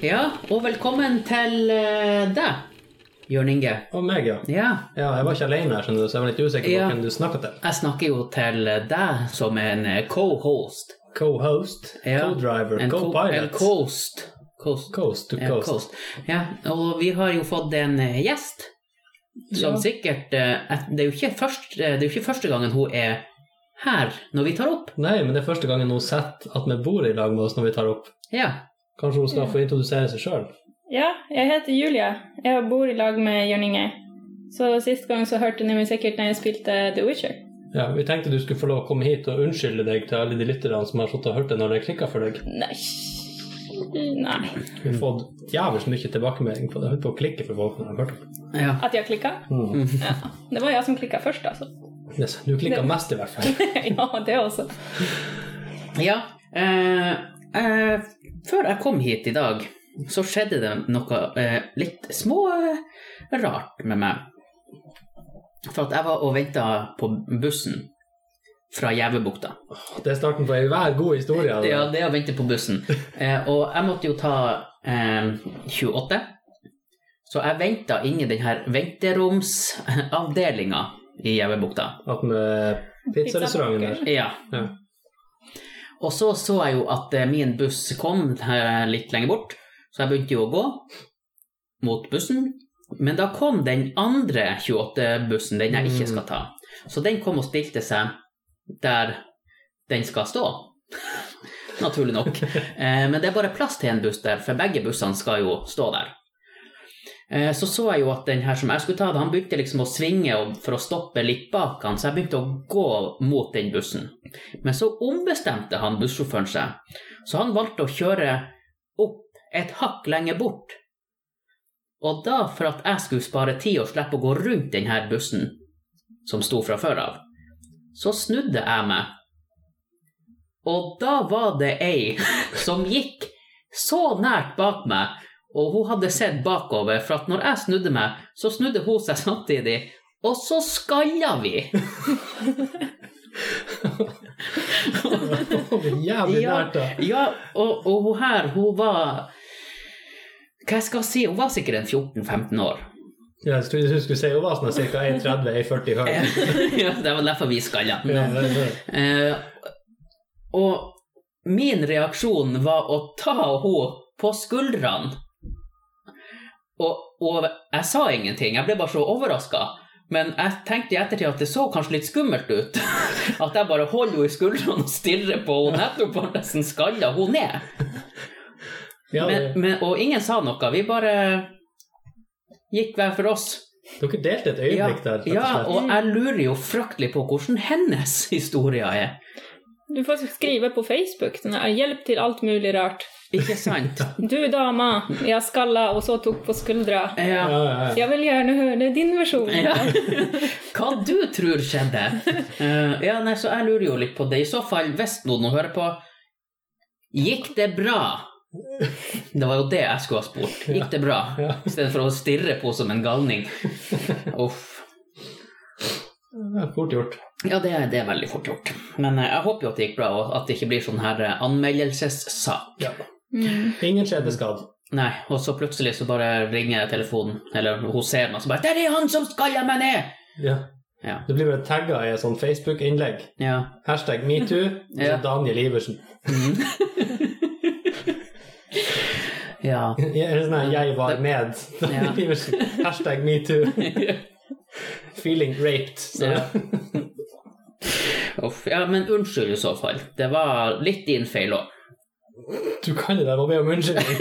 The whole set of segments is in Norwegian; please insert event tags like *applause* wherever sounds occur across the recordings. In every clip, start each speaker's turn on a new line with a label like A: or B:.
A: Ja, og velkommen til eh, deg, Jørn Inge.
B: Og meg, ja.
A: Ja,
B: ja. Jeg var ikke alene her, skjønner du, så jeg var litt usikker på
A: Ja.
B: hvem du snakket til.
A: jeg snakker jo til deg som en eh, co-host.
B: Co-host,
A: Ja,
B: co-driver,
A: en co- En
B: co-pilot.
A: coast. Coast.
B: coast to
A: Ja,
B: coast.
A: coast. Ja, og vi har jo fått en eh, gjest som
B: Ja.
A: sikkert eh, et- det er, jo ikke først, eh, det er jo ikke første gangen hun er her når vi tar opp.
B: Nei, men det er første gangen hun setter at vi bor i lag med oss når vi tar opp.
A: Ja,
B: Kanskje hun skal få introdusere seg sjøl?
C: Ja, jeg heter Julia. Jeg bor i lag med Jørn Inge. Så sist gang så hørte dere meg sikkert når jeg spilte The Witcher.
B: Ja, vi tenkte du skulle få lov å komme hit og unnskylde deg til alle de lytterne som har sittet og hørt det når det klikka for deg.
C: Nei. Nei.
B: Vi har fått jævlig mye tilbakemelding på det. Holdt på å klikke for folk når de har hørt det.
A: ja.
C: At jeg klikka?
B: Mm.
C: Ja. Det var jeg som klikka først, altså. *laughs*
B: Yes, Du klikka
C: Det-
B: mest, i hvert fall.
C: ja, det også.
A: Ja. Eh, eh, før jeg kom hit i dag, så skjedde det noe eh, litt små eh, rart med meg. For at jeg var og venta på bussen fra Gjævebukta.
B: Det er starten på ei hver god historie. altså.
A: Ja, det å vente på *laughs* bussen. Eh, og jeg måtte jo ta eh, 28. Så jeg venta inni den her venteromsavdelinga i Gjævebukta.
B: At med pizzarestauranten der.
A: Ja.
B: Ja.
A: Og så så jeg jo at eh, min buss kom eh, litt lenger bort, så jeg begynte jo å gå mot bussen. Men da kom den andre 28-bussen, den jeg ikke skal ta. Så den kom og stilte seg der den skal stå. *laughs* Naturlig nok. Eh, Men det er bare plass til en buss der, for begge bussene skal jo stå der. Eh, Så så jeg jo at den her som jeg skulle ta, han begynte liksom å svinge og- for å stoppe litt bak han, så jeg begynte å gå mot den bussen. Men så ombestemte han bussjåføren seg, så han valgte å kjøre opp et hakk lenger bort. Og da, for at jeg skulle spare tid og slippe å gå rundt den her bussen som sto fra før av, så snudde jeg meg. Og da var det ei som gikk så nært bak meg og hun hadde sett bakover, for at når jeg snudde meg, så snudde hun seg samtidig, og så skalla vi!
B: *laughs* Jævlig
A: Ja.
B: nært, da.
A: Ja, og, og hun her, hun var Hva jeg skal si, hun var sikkert en 14-15 år. *laughs*
B: Ja, jeg trodde du skulle si hun var sånn ca. 1,30-1,40 høy.
A: *laughs* Ja, det var derfor vi skalla.
B: Ja, det- det-
A: Eh, og min reaksjon var å ta henne på skuldrene. Og, og jeg sa ingenting, jeg ble bare så overraska. Men jeg tenkte i ettertid at det så kanskje litt skummelt ut. *laughs* At jeg bare holder henne i skuldrene og stirrer på henne. Nettopp har nesten skalla henne ned.
B: ja,
A: Men,
B: det-
A: men, og ingen sa noe. Vi bare gikk hver for oss.
B: dere delte
A: Ja,
B: et øyeblikk der, rett
A: ja,
B: og slett.
A: og jeg lurer jo fryktelig på hvordan hennes *laughs* historie er.
C: Du får skrive på Facebook. Den er hjelp til alt mulig rart.
A: Ikke
B: *laughs*
A: sant?
C: Du dama, jeg skalla og så tok på skuldra.
A: Ja.
B: Ja, ja, ja.
C: Jeg vil gjerne høre din versjon.
A: Ja. *laughs* Hva du tror skjedde? Eh, ja, nei, så jeg lurer jo litt på det. I så fall, hvis noen nå hører på, gikk det bra? Det var jo det jeg skulle ha spurt. Gikk det bra?
B: Ja.
A: I stedet for å stirre på som en galning. Uff.
B: Ja, Fort gjort.
A: Ja, det, er- det er veldig fort gjort. Men eh, jeg håper jo at det gikk bra, og at det ikke blir sånn her eh, anmeldelsessak.
B: Ja.
C: Mm.
B: Ingen skjedeskadd.
A: Nei, og så plutselig så bare ringer telefonen, eller hun ser meg, så bare 'Der er han som skalla meg ned!'
B: Ja.
A: Ja.
B: Du blir bare tagga i et sånt Facebook-innlegg.
A: Ja.
B: Hashtag metoo.
A: *laughs* Ja.
B: Ja. Daniel Iversen. *laughs*
A: ja.
B: Ja, eller sånn her, jeg var med. *laughs* Daniel
A: Ja.
B: Iversen. Hashtag
A: *laughs*
B: metoo. Feeling raped. Så.
A: Ja. Uff, ja, men unnskyld i så fall. Det var litt din feil òg.
B: *laughs* Du kan jo det, jeg må be om unnskyldning.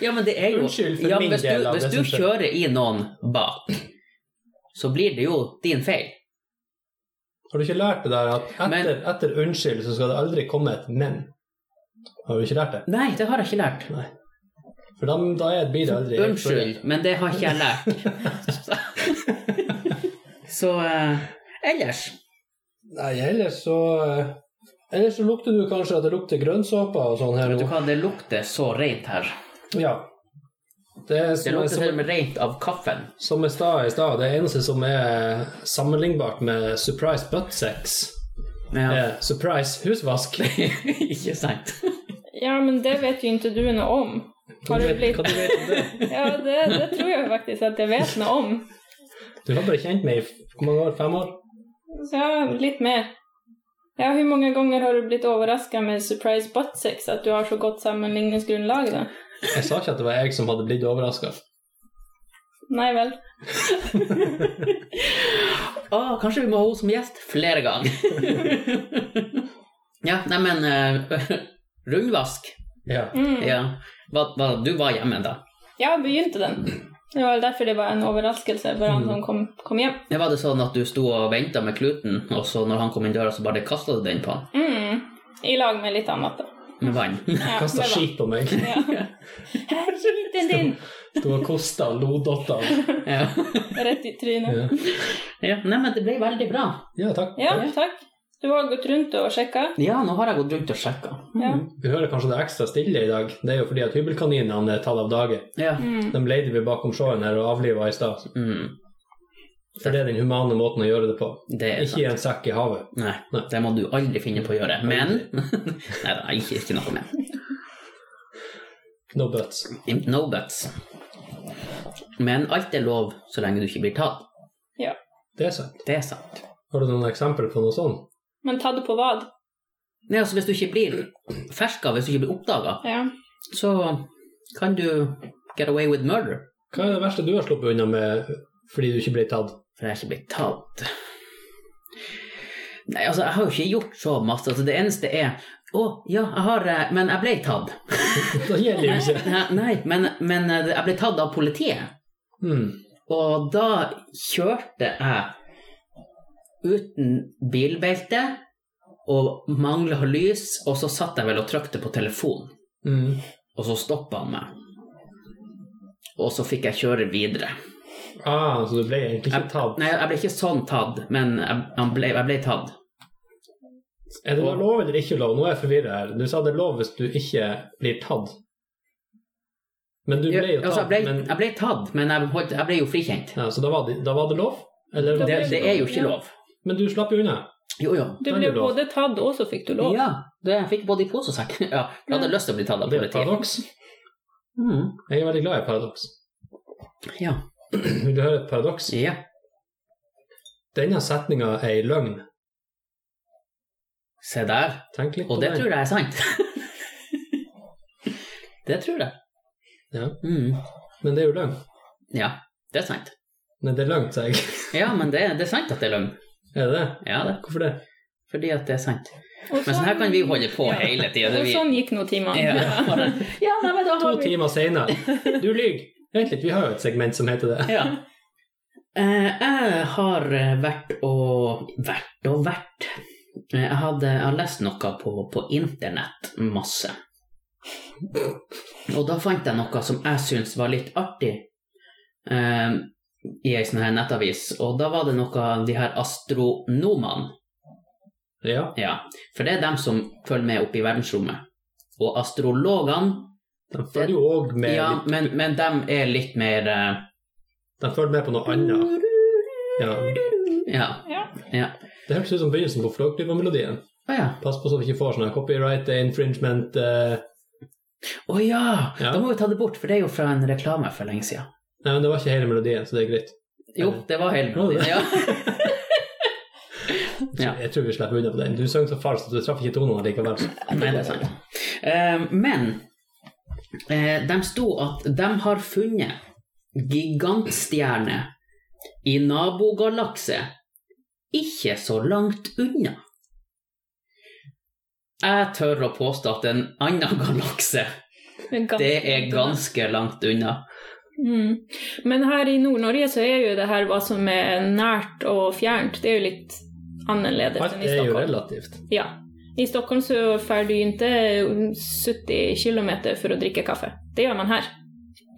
A: Ja, men det er jo
B: Unnskyld for
A: ja,
B: min
A: hvis
B: del
A: du,
B: av det
A: Hvis du
B: som skjedde.
A: kjører i noen bak, så blir det jo din feil.
B: Har du ikke lært det der at etter,
A: Men-
B: etter unnskyld så skal det aldri komme et men? Har du ikke lært det?
A: Nei, det har jeg ikke lært.
B: Nei. For da, da er- blir det aldri
A: Unnskyld, men det har ikke jeg lært.
B: *laughs*
A: Så eh, ellers
B: Nei, ellers så eh, Ellers så lukter du kanskje at det lukter grønnsåper og sånn her
A: Vet du
B: nå.
A: hva, det lukter så rent her.
B: Ja. Det er
A: Det
B: som,
A: lukter til
B: er,
A: og
B: som,
A: med rent av kaffen.
B: som jeg sa i stad, det eneste som er sammenlignbart med surprise buttsex,
A: Ja. *laughs*
B: er surprise husvask.
A: ikke sant?
C: Ja, men det vet jo ikke du noe om.
B: Hva
C: Har
B: du
C: du
B: vet,
C: blitt
B: hva du vet om det?
C: Ja, det, det tror jeg faktisk at jeg vet noe om.
B: Du har bare kjent meg i f- hvor mange år? Fem år?
C: Så ja, litt mer. Ja, Hvor mange ganger har du blitt overraska med surprise buttsex? At du har så godt sammenligningsgrunnlag, da?
B: Jeg sa ikke at det var jeg som hadde blitt overraska.
C: Nei vel.
A: Å, Ah, kanskje vi må ha henne som gjest flere ganger. *laughs* ja, neimen uh, *laughs* Rundvask.
B: Ja.
C: Mm.
A: Ja. Hva, hva, du var hjemme da.
C: Ja, begynte den. Det var derfor det var en overraskelse for han som kom, kom hjem.
A: Ja, Var det sånn at du sto og venta med kluten, og så når han kom inn døra, så bare kasta du den på han
C: Mm. I lag med litt annet, da.
A: med vann? *laughs*
C: Ja,
B: Kasta
C: det var-
B: skit på meg.
C: Ja. Her, skiten din!
B: Sto og kosta og lo dotta.
A: *laughs* ja,
C: Rett i trynet.
B: Ja.
A: ja Neimen, det ble veldig bra.
B: ja, takk.
C: Ja, takk. Du har gått rundt og sjekka?
A: Ja, nå har jeg gått rundt og sjekka.
C: Ja.
B: Du hører kanskje det er ekstra stille i dag. Det er jo fordi at hybelkaninene er tatt av dage.
A: Ja.
C: Mm.
B: De leide vi bakom sjåen her og avliva i stad.
A: Mm,
B: For det er den humane måten å gjøre det på.
A: det er
B: Ikke
A: sant.
B: i en sekk i havet.
A: Nei,
B: Nei.
A: det må du aldri finne på å gjøre. Men *laughs* Nei da, ikke, ikke noe med.
B: No buts.
A: No buts. Men alt er lov så lenge du ikke blir tatt.
B: Det er sant.
A: Det er sant.
B: Har du noen eksempler på noe sånn? sånt?
C: Men tatt på vad?
A: Nei, altså Hvis du ikke blir ferska, hvis du ikke blir oppdaga,
C: Ja.
A: så kan du get away with murder.
B: Hva er det verste du har sluppet unna med fordi du ikke ble tatt? *laughs*
A: For jeg er ikke blitt tatt. Nei, altså, jeg har jo ikke gjort så masse. Altså, det eneste er Å, ja, jeg har eh, Men jeg ble tatt. *laughs*
B: Da gjelder det jo ikke.
A: Nei, men, men eh, jeg ble tatt av politiet.
B: Hmm.
A: Og da kjørte jeg uten bilbelte og mangla lys, og så satt jeg vel og trykte på telefonen,
B: Hmm.
A: og så stoppa han meg. Og så fikk jeg kjøre videre.
B: Ah, så du ble egentlig ikke
A: Jeg-
B: tatt.
A: Nei, jeg ble ikke sånn tatt, men jeg, han ble, jeg ble tatt.
B: Er det lov eller ikke lov? Nå er jeg forvirra her. Du sa det er lov hvis du ikke blir tatt. Men du
A: Ja,
B: ble jo
A: altså, jeg,
B: tatt.
A: ble,
B: Men,
A: jeg ble tatt, men jeg, holdt, jeg ble jo frikjent.
B: ja, så da var, det, da var det lov? Eller var
A: Det,
B: ikke
A: det
B: lov?
A: er jo ikke lov.
B: Men du slapp jo unna.
A: Jo, jo.
C: Du
B: Da er
C: ble
B: det lov.
C: både tatt, og så fikk du lov.
A: Ja, det jeg fikk både i pose og sekk. *laughs* Ja, jeg hadde lyst til å bli tatt av
B: Det er et
A: politiet.
B: paradoks.
A: Mm,
B: Jeg er veldig glad i paradoks.
A: ja.
B: Vil du høre et paradoks?
A: ja.
B: Denne setninga er ei løgn.
A: Se der.
B: Tenk litt
A: Og
B: på
A: det
B: den.
A: tror jeg er
B: *laughs*
A: sant. det tror jeg.
B: Ja.
A: Mm.
B: Men det er jo løgn.
A: ja, det er sant.
B: Nei, det er løgn, sa jeg. *laughs*
A: Ja, men det, det er sant at det er løgn.
B: Er det det?
A: Ja, det.
B: Hvorfor det?
A: Fordi at det er sant.
C: Og
A: Men sånn her kan vi holde på
C: Ja.
A: hele tida.
C: Og sånn gikk nå timene.
A: Ja. ja, nei, men da
B: To
A: har vi *laughs*
B: timer seinere. Du lyver. Vent litt, vi har jo et segment som heter det.
A: ja. Eh, Jeg har eh, vært og vært og vært. Eh, Jeg, hadde, jeg har lest noe på, på internett masse. Og da fant jeg noe som jeg syntes var litt artig eh, i ei sånn her nettavis. Og da var det noe av de her astronomene.
B: Ja.
A: Ja, for det er dem som følger med oppe i verdensrommet. Og astrologene,
B: De følger jo òg med,
A: ja, men, men dem er litt mer eh,
B: de følger med på noe annet. Ja.
A: Ja.
C: Ja.
B: Det høres ut som begynnelsen på Flåklypa-melodien.
A: Å ja.
B: Pass på så vi ikke får sånne copyright infringement eh.
A: Å ja. Da
B: Ja.
A: må vi ta det bort, for det er jo fra en reklame for lenge siden.
B: Nei, men det var ikke hele melodien, så det er greit.
A: Jo, det var hele
B: Var det?
A: Ja.
B: Jeg tror,
A: Ja.
B: jeg tror vi slipper unna på den. Du sang så falskt at du traff ikke tonene likevel.
A: Nei, det er sant. Eh, men eh, de sto at de har funnet gigantstjerner i nabogalakse ikke så langt unna. Jeg tør å påstå at en annen galakse,
C: Men ganske-
A: det er ganske langt unna.
C: Mm. Men her i Nord-Norge så er jo det her hva som er nært og fjernt, det er jo litt annerledes
B: Alt
C: enn i
B: er jo
C: Stockholm.
B: relativt.
C: Ja. I Stockholm så drar du ikke 70 km for å drikke kaffe. Det gjør man her.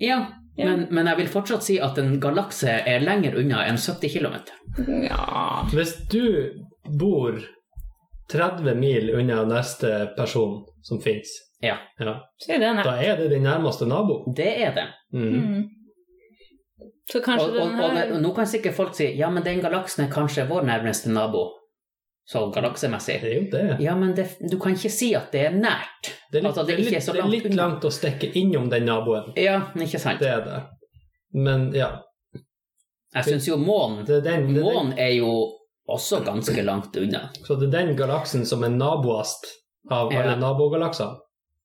A: Ja,
C: Ja.
A: Men, men jeg vil fortsatt si at en galakse er lenger unna enn 70 km.
C: Ja
B: Hvis du bor 30 mil unna neste person som fins,
A: Ja.
C: Så er det nært.
B: da er det din nærmeste nabo.
A: Det er det.
B: Mm.
C: Mm. Så
A: Og,
C: kanskje
A: og,
C: den
A: og,
C: her
A: nå kan sikkert folk si ja, men den galaksen er kanskje vår nærmeste nabo. sånn galaksemessig.
B: Det er jo det.
A: Ja, men det, du kan ikke si at det er nært.
B: Det er litt,
A: Altså, det
B: det
A: er
B: er
A: ikke
B: litt,
A: så
B: det er
A: langt
B: litt
A: unna.
B: langt å stikke innom den naboen.
A: Ja, ikke sant?
B: Det er det. Men ja,
A: Jeg syns jo månen
B: det er den, det er den,
A: Månen er jo også ganske langt unna.
B: så det er den galaksen som er naboast av alle
A: Ja.
B: nabogalaksene.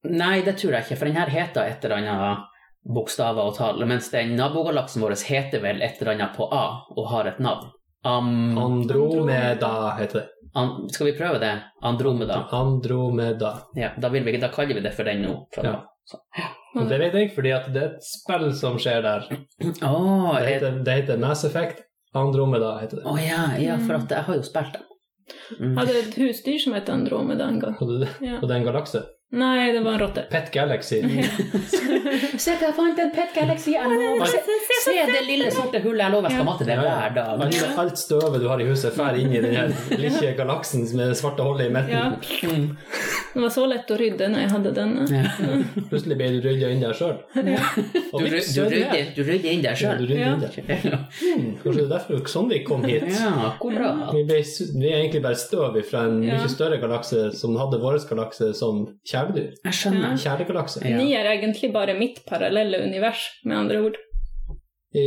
A: Nei, det tror jeg ikke, for den her heter et eller annet bokstaver og tall, mens den nabogalaksen vår heter vel et eller annet på A og har et navn. Am...
B: Andromeda heter det.
A: an, skal vi prøve det? Andromeda.
B: Andromeda.
A: Ja, da, vil vi, da kaller vi det for den nå. fra nå.
B: Ja. Og det vet jeg, fordi at det er et spill som skjer der.
A: Åh,
B: Det
A: er-
B: heter, det heter Mass Effect. Andromeda heter det.
A: Å ja, ja, for at jeg har jo spilt den.
C: Jeg
A: Mm.
C: hadde et husdyr som het Andromeda en gang.
B: Og det,
C: Ja.
B: og det er en galakse.
C: Nei, det var en rotte.
B: Pet Galaxy.
A: Se, jeg fant en Pet Galaxy Se, det lille sorte hullet jeg lover jeg skal matte *laughs* det
B: Ja, ja.
A: hver dag.
B: Alt, alt støvet du har i huset, fer inn i den
A: *laughs*
B: her lille galaksen med det svarte hullet i midten.
C: *laughs* Ja.
A: Mm.
C: Den var så lett å rydde når jeg hadde eh. denne.
A: Ja.
B: Plutselig ble du rydda inn der sjøl.
A: Du, ry- du, rydder, du rydder inn deg sjøl.
C: Ja.
B: Kanskje det er derfor sånn vi kom hit.
A: *laughs* Ja, hvor bra.
B: Vi, ble, su- vi er egentlig bare støv fra en
C: Ja.
B: mye større galakse som hadde vår galakse som kjæledyr.
A: Jeg skjønner.
B: Kjælegalakse.
A: Ja.
C: Ni er egentlig bare mitt parallelle univers, med andre ord.
B: I,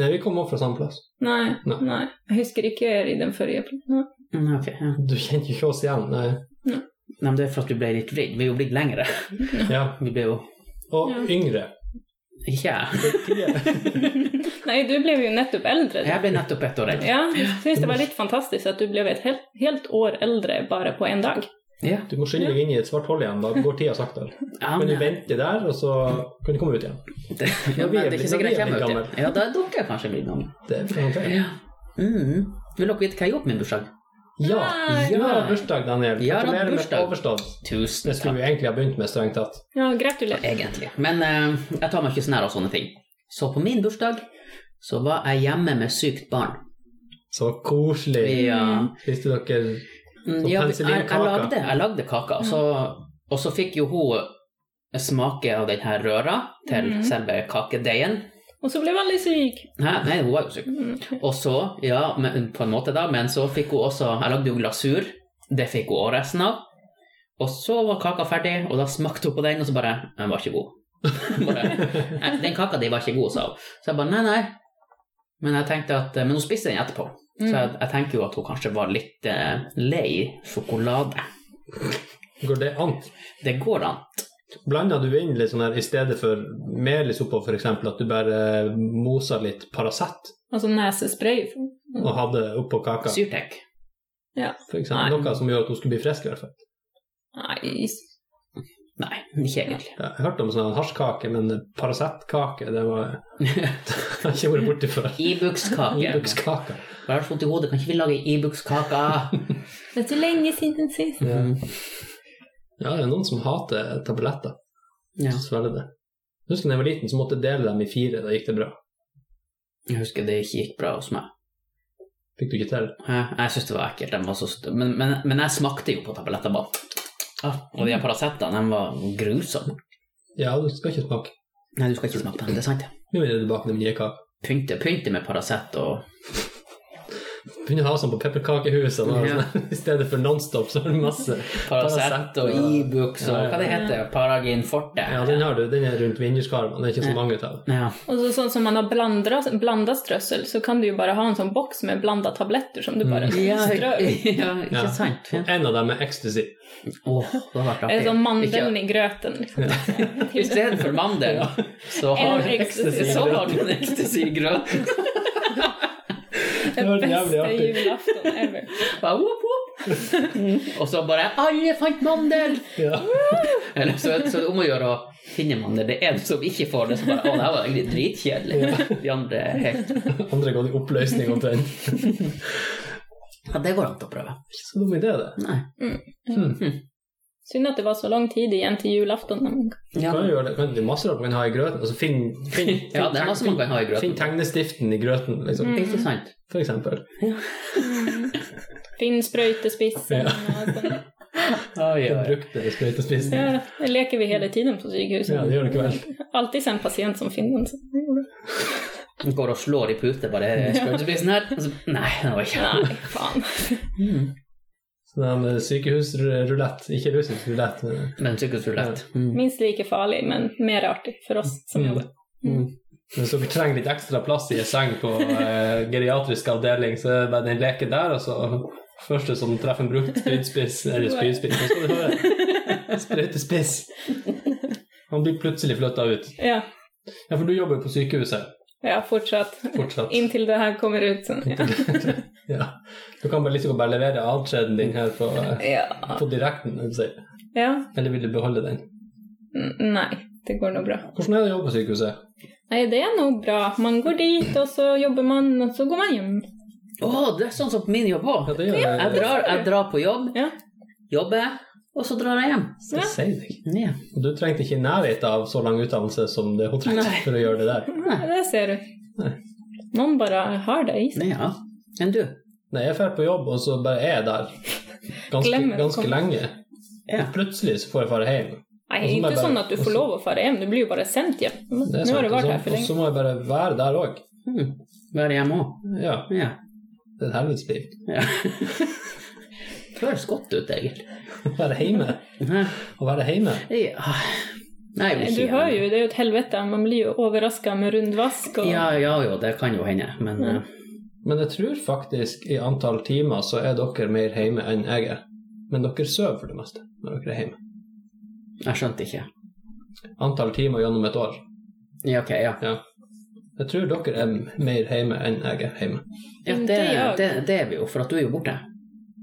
B: nei, vi kom opp fra samme plass.
C: Nei,
B: Nei.
C: nei. Jeg husker ikke er i den forrige planen.
A: Mm, ok, ja.
B: Du kjente jo ikke oss igjen. Nei.
A: Nei, men det er for at du ble litt vridd. Vi er jo blitt lengre.
B: Ja.
A: Vi ble jo
B: Og
C: Ja.
B: yngre.
A: Ikke jeg.
C: Nei, du ble jo nettopp eldre.
A: Jeg ble nettopp ett år eldre.
C: Ja, jeg syns det var litt fantastisk at du ble et helt, helt år eldre bare på en dag.
A: Ja.
B: Du må skynde deg inn i et svart hull igjen. Da går tida saktere.
A: Ja,
B: Kan
A: men,
B: du vente der, og så kan du komme ut igjen.
A: ja, men det er
B: vi er
A: ikke sikkert jeg
B: blitt
A: kommer
B: gammel.
A: ut. Ja, da er dere kanskje blitt gamle.
B: Det er okay.
A: Ja. Mm. Vil dere vite hva jeg gjorde på min bursdag?
B: Ja,
C: Nei.
B: du har bursdag, Daniel.
A: Jeg har
B: Gratulerer med
A: bursdag.
B: overstått. Det
A: Tusen
B: skulle vi egentlig ha begynt med, strengt tatt.
C: Ja, gratulerer.
A: egentlig. Men eh, jeg tar meg ikke så nær av sånne ting. Så på min bursdag så var jeg hjemme med sykt barn.
B: Så koselig.
A: Ja,
B: Spiste dere
A: Mm,
B: Så
A: ja jeg, jeg,
B: penicillinkaka.
A: lagde, jeg lagde kaka, og så, og så fikk jo hun smake av den her røra til
C: Mhm.
A: selve kakedeigen.
C: Og så ble jeg veldig syk. Mm.
A: Hæ? Nei, hun var jo syk. Og så, ja, men, på en måte da, men så fikk hun også Jeg lagde jo glasur. Det fikk hun også resten av. Og så var kaka ferdig, og da smakte hun på den, og så bare Den var ikke god. *laughs* bare, «Nei, den kaka di var ikke god, sa hun. Så jeg bare nei, nei. Men jeg tenkte at, eh, men hun spiste den etterpå. Så jeg, jeg tenker jo at hun kanskje var litt eh, lei sjokolade.
B: Går det an?
A: Det går an.
B: Blanda du inn litt sånn her i stedet for melis oppå, f.eks., at du bare mosa litt Paracet
C: Altså nesespray.
B: og hadde oppå kaka?
A: Syrtek.
B: For eksempel,
C: Nei.
B: noe som gjorde at hun skulle bli frisk, i hvert fall.
C: Nei,
A: Nei, ikke
B: *laughs*
A: egentlig.
B: Ja, Jeg hørte om sånn hasjkake, men Paracet-kake, det var *laughs* Det har jeg ikke vært borti før.
A: Ibux-kake.
B: Ibux-kake.
A: Hva har du vondt i hodet? Kan ikke vi lage Ibux-kaka?
C: det er så lenge siden sist.
B: Ja. Eh,
A: Mhm.
B: *laughs* ja, det er noen som hater tabletter.
A: Ja.
B: Svelge det. Jeg husker da jeg var liten, så måtte jeg dele dem i fire. Da gikk det bra.
A: Jeg husker det ikke gikk bra hos meg.
B: Fikk du ikke til?
A: Hæ? Jeg syntes det var ekkelt. Den var så st- men, men, men jeg smakte jo på tabletter bare. Ah, og de her Paracetene, de var grusomme.
B: Ja, du skal ikke smake.
A: Nei, du skal ikke smake på dem, det er sant.
B: Nå er det tilbake til min nye kake.
A: Pynte, pynte med Paracet og
B: Begynner å ha sånn på pepperkakehuset. da,
A: Ja.
B: sånn, *laughs* I stedet for Nonstop, så er det masse.
A: Paracet og Ibux og hva det heter, Paragin Forte.
B: Ja, den har du. Den er rundt vinduskarmen. Det er ikke så mange av dem.
A: Ja.
C: Og så, sånn som man har blandra, blanda strøssel, så kan du jo bare ha en sånn boks med blanda tabletter som du bare
A: Mm. Ja,
C: strør.
A: ja, ikke
B: Ja.
A: sant?
B: Og en av dem er ecstasy.
A: Åh, det hadde vært
C: Det er
A: artig.
C: sånn mandelen
A: Ikke-
C: i grøten. Liksom.
A: *laughs* I stedet for mandel, så har
C: Eller ecstasy.
A: så har du en ecstasy i grøten.
C: Det
B: var jævlig
C: beste
B: artig.
C: julaften ever.
A: Bare, whoop, whoop. *laughs* Og så bare 'Alle fant mandel!'
B: Ja.
A: Eller så, så det er om å gjøre å finne mandel. Det er en som ikke får det, som bare 'Å, det her var egentlig dritkjedelig'. De andre er helt
B: *laughs* Andre går i oppløsning omtrent.
A: Ja, det går an til å prøve.
B: Ikke så dum idé, det.
A: Nei.
C: Synd at det var så lang tid igjen til julaften.
A: Ja.
B: Du kan jo gjøre det, kan, det er masse rart man kan ha i grøten. Altså, finn, finn,
A: *laughs* Ja, det er masse man kan ha i grøten. Mm.
B: finn tegnestiften i grøten, liksom.
A: Ikke sant?
B: For eksempel.
C: Finn sprøytespissen og sånn.
A: Oi,
B: Den
A: oi.
B: brukte sprøytespisen.
C: Ja, det leker vi hele tiden på sykehuset.
B: Ja, det gjør det ikke vel.
C: Alltid en pasient som finner den. så-
A: Går og slår i pute, bare 'Skal du spise den her?' Og så, Nei, det var ikke
C: Nei, faen.
A: Mm.
B: Sånn eh, sykehusrulett. Ikke russisk rulett. men-
A: Men sykehusrulett. Mm.
C: Minst like farlig, men mer artig for oss som
B: Mm.
C: jobber.
A: Mm.
B: Hvis dere trenger litt ekstra plass i en seng på eh, geriatrisk avdeling, så er det bare den leken der, og så første som treffer en brukt spydspiss Eller spydspiss, hva skal du høre? Sprøytespiss. Han blir plutselig flytta ut.
C: Ja,
B: Ja, for du jobber jo på sykehuset
C: ja fortsatt.
B: fortsatt.
C: Inntil det her kommer ut. Sånn. Ja.
B: Ja. Du kan bare liksom bare levere avskjeden din her på, eh,
C: Ja.
B: på direkten. vil du si.
C: ja.
B: Eller vil du beholde den?
C: N- Nei, det går nå bra.
B: Hvordan er det å jobbe på sykehuset?
C: Nei, det er nå bra. Man går dit, og så jobber man, og så går man hjem.
A: Å, det er sånn som min jobb
B: Ja,
A: òg.
B: det gjør
A: Jeg
B: jeg.
A: drar, jeg drar på jobb,
C: Ja.
A: jobber, og så drar jeg hjem.
B: Det sier jeg.
A: Ja.
B: Og du trengte ikke nærhet av så lang utdannelse som det hun trengte
A: Nei.
B: for å gjøre det der.
C: Ja, det ser du.
B: Nei.
C: Noen bare har det i seg.
A: ja. Enn du?
B: Nei, jeg drar på jobb, og så bare er jeg der ganske,
C: Glemmer å
B: ganske
C: komme.
B: lenge.
A: Ja.
B: Plutselig så får jeg dra hjem.
C: Nei,
B: Og så må jeg
C: ikke
B: bare-
C: sånn at du
B: og
C: får
B: så-
C: lov å fare hjem. Du blir jo bare sendt hjem.
B: Det er
C: Nå
B: sant,
C: har du vært
B: og så-
C: her for
B: Og
C: lenge.
B: så må jeg bare være der òg.
A: Mm. Være hjemme òg.
B: Ja,
A: Ja.
B: det er et helvetes liv.
A: ja. *laughs* Høres godt ut, egentlig.
B: *laughs* Være hjemme.
A: Hæ?
B: Å være hjemme.
A: Ja. Nei, jeg vil ikke
C: Du
A: gjøre
C: hører
A: det.
C: jo, det er jo et helvete. Man blir jo overraska med rund vask og
A: Ja, ja jo, det kan jo hende, men
C: Ja.
A: eh,
B: Men jeg tror faktisk i antall timer så er dere mer hjemme enn jeg er. Men dere sover for det meste når dere er hjemme.
A: jeg skjønte ikke.
B: Antall timer gjennom et år.
A: Ja, ok, ja.
B: Ja. Jeg tror dere er mer hjemme enn jeg er hjemme.
A: ja det,
C: Men det er jo-
A: det, det er vi jo, for at du er jo borte.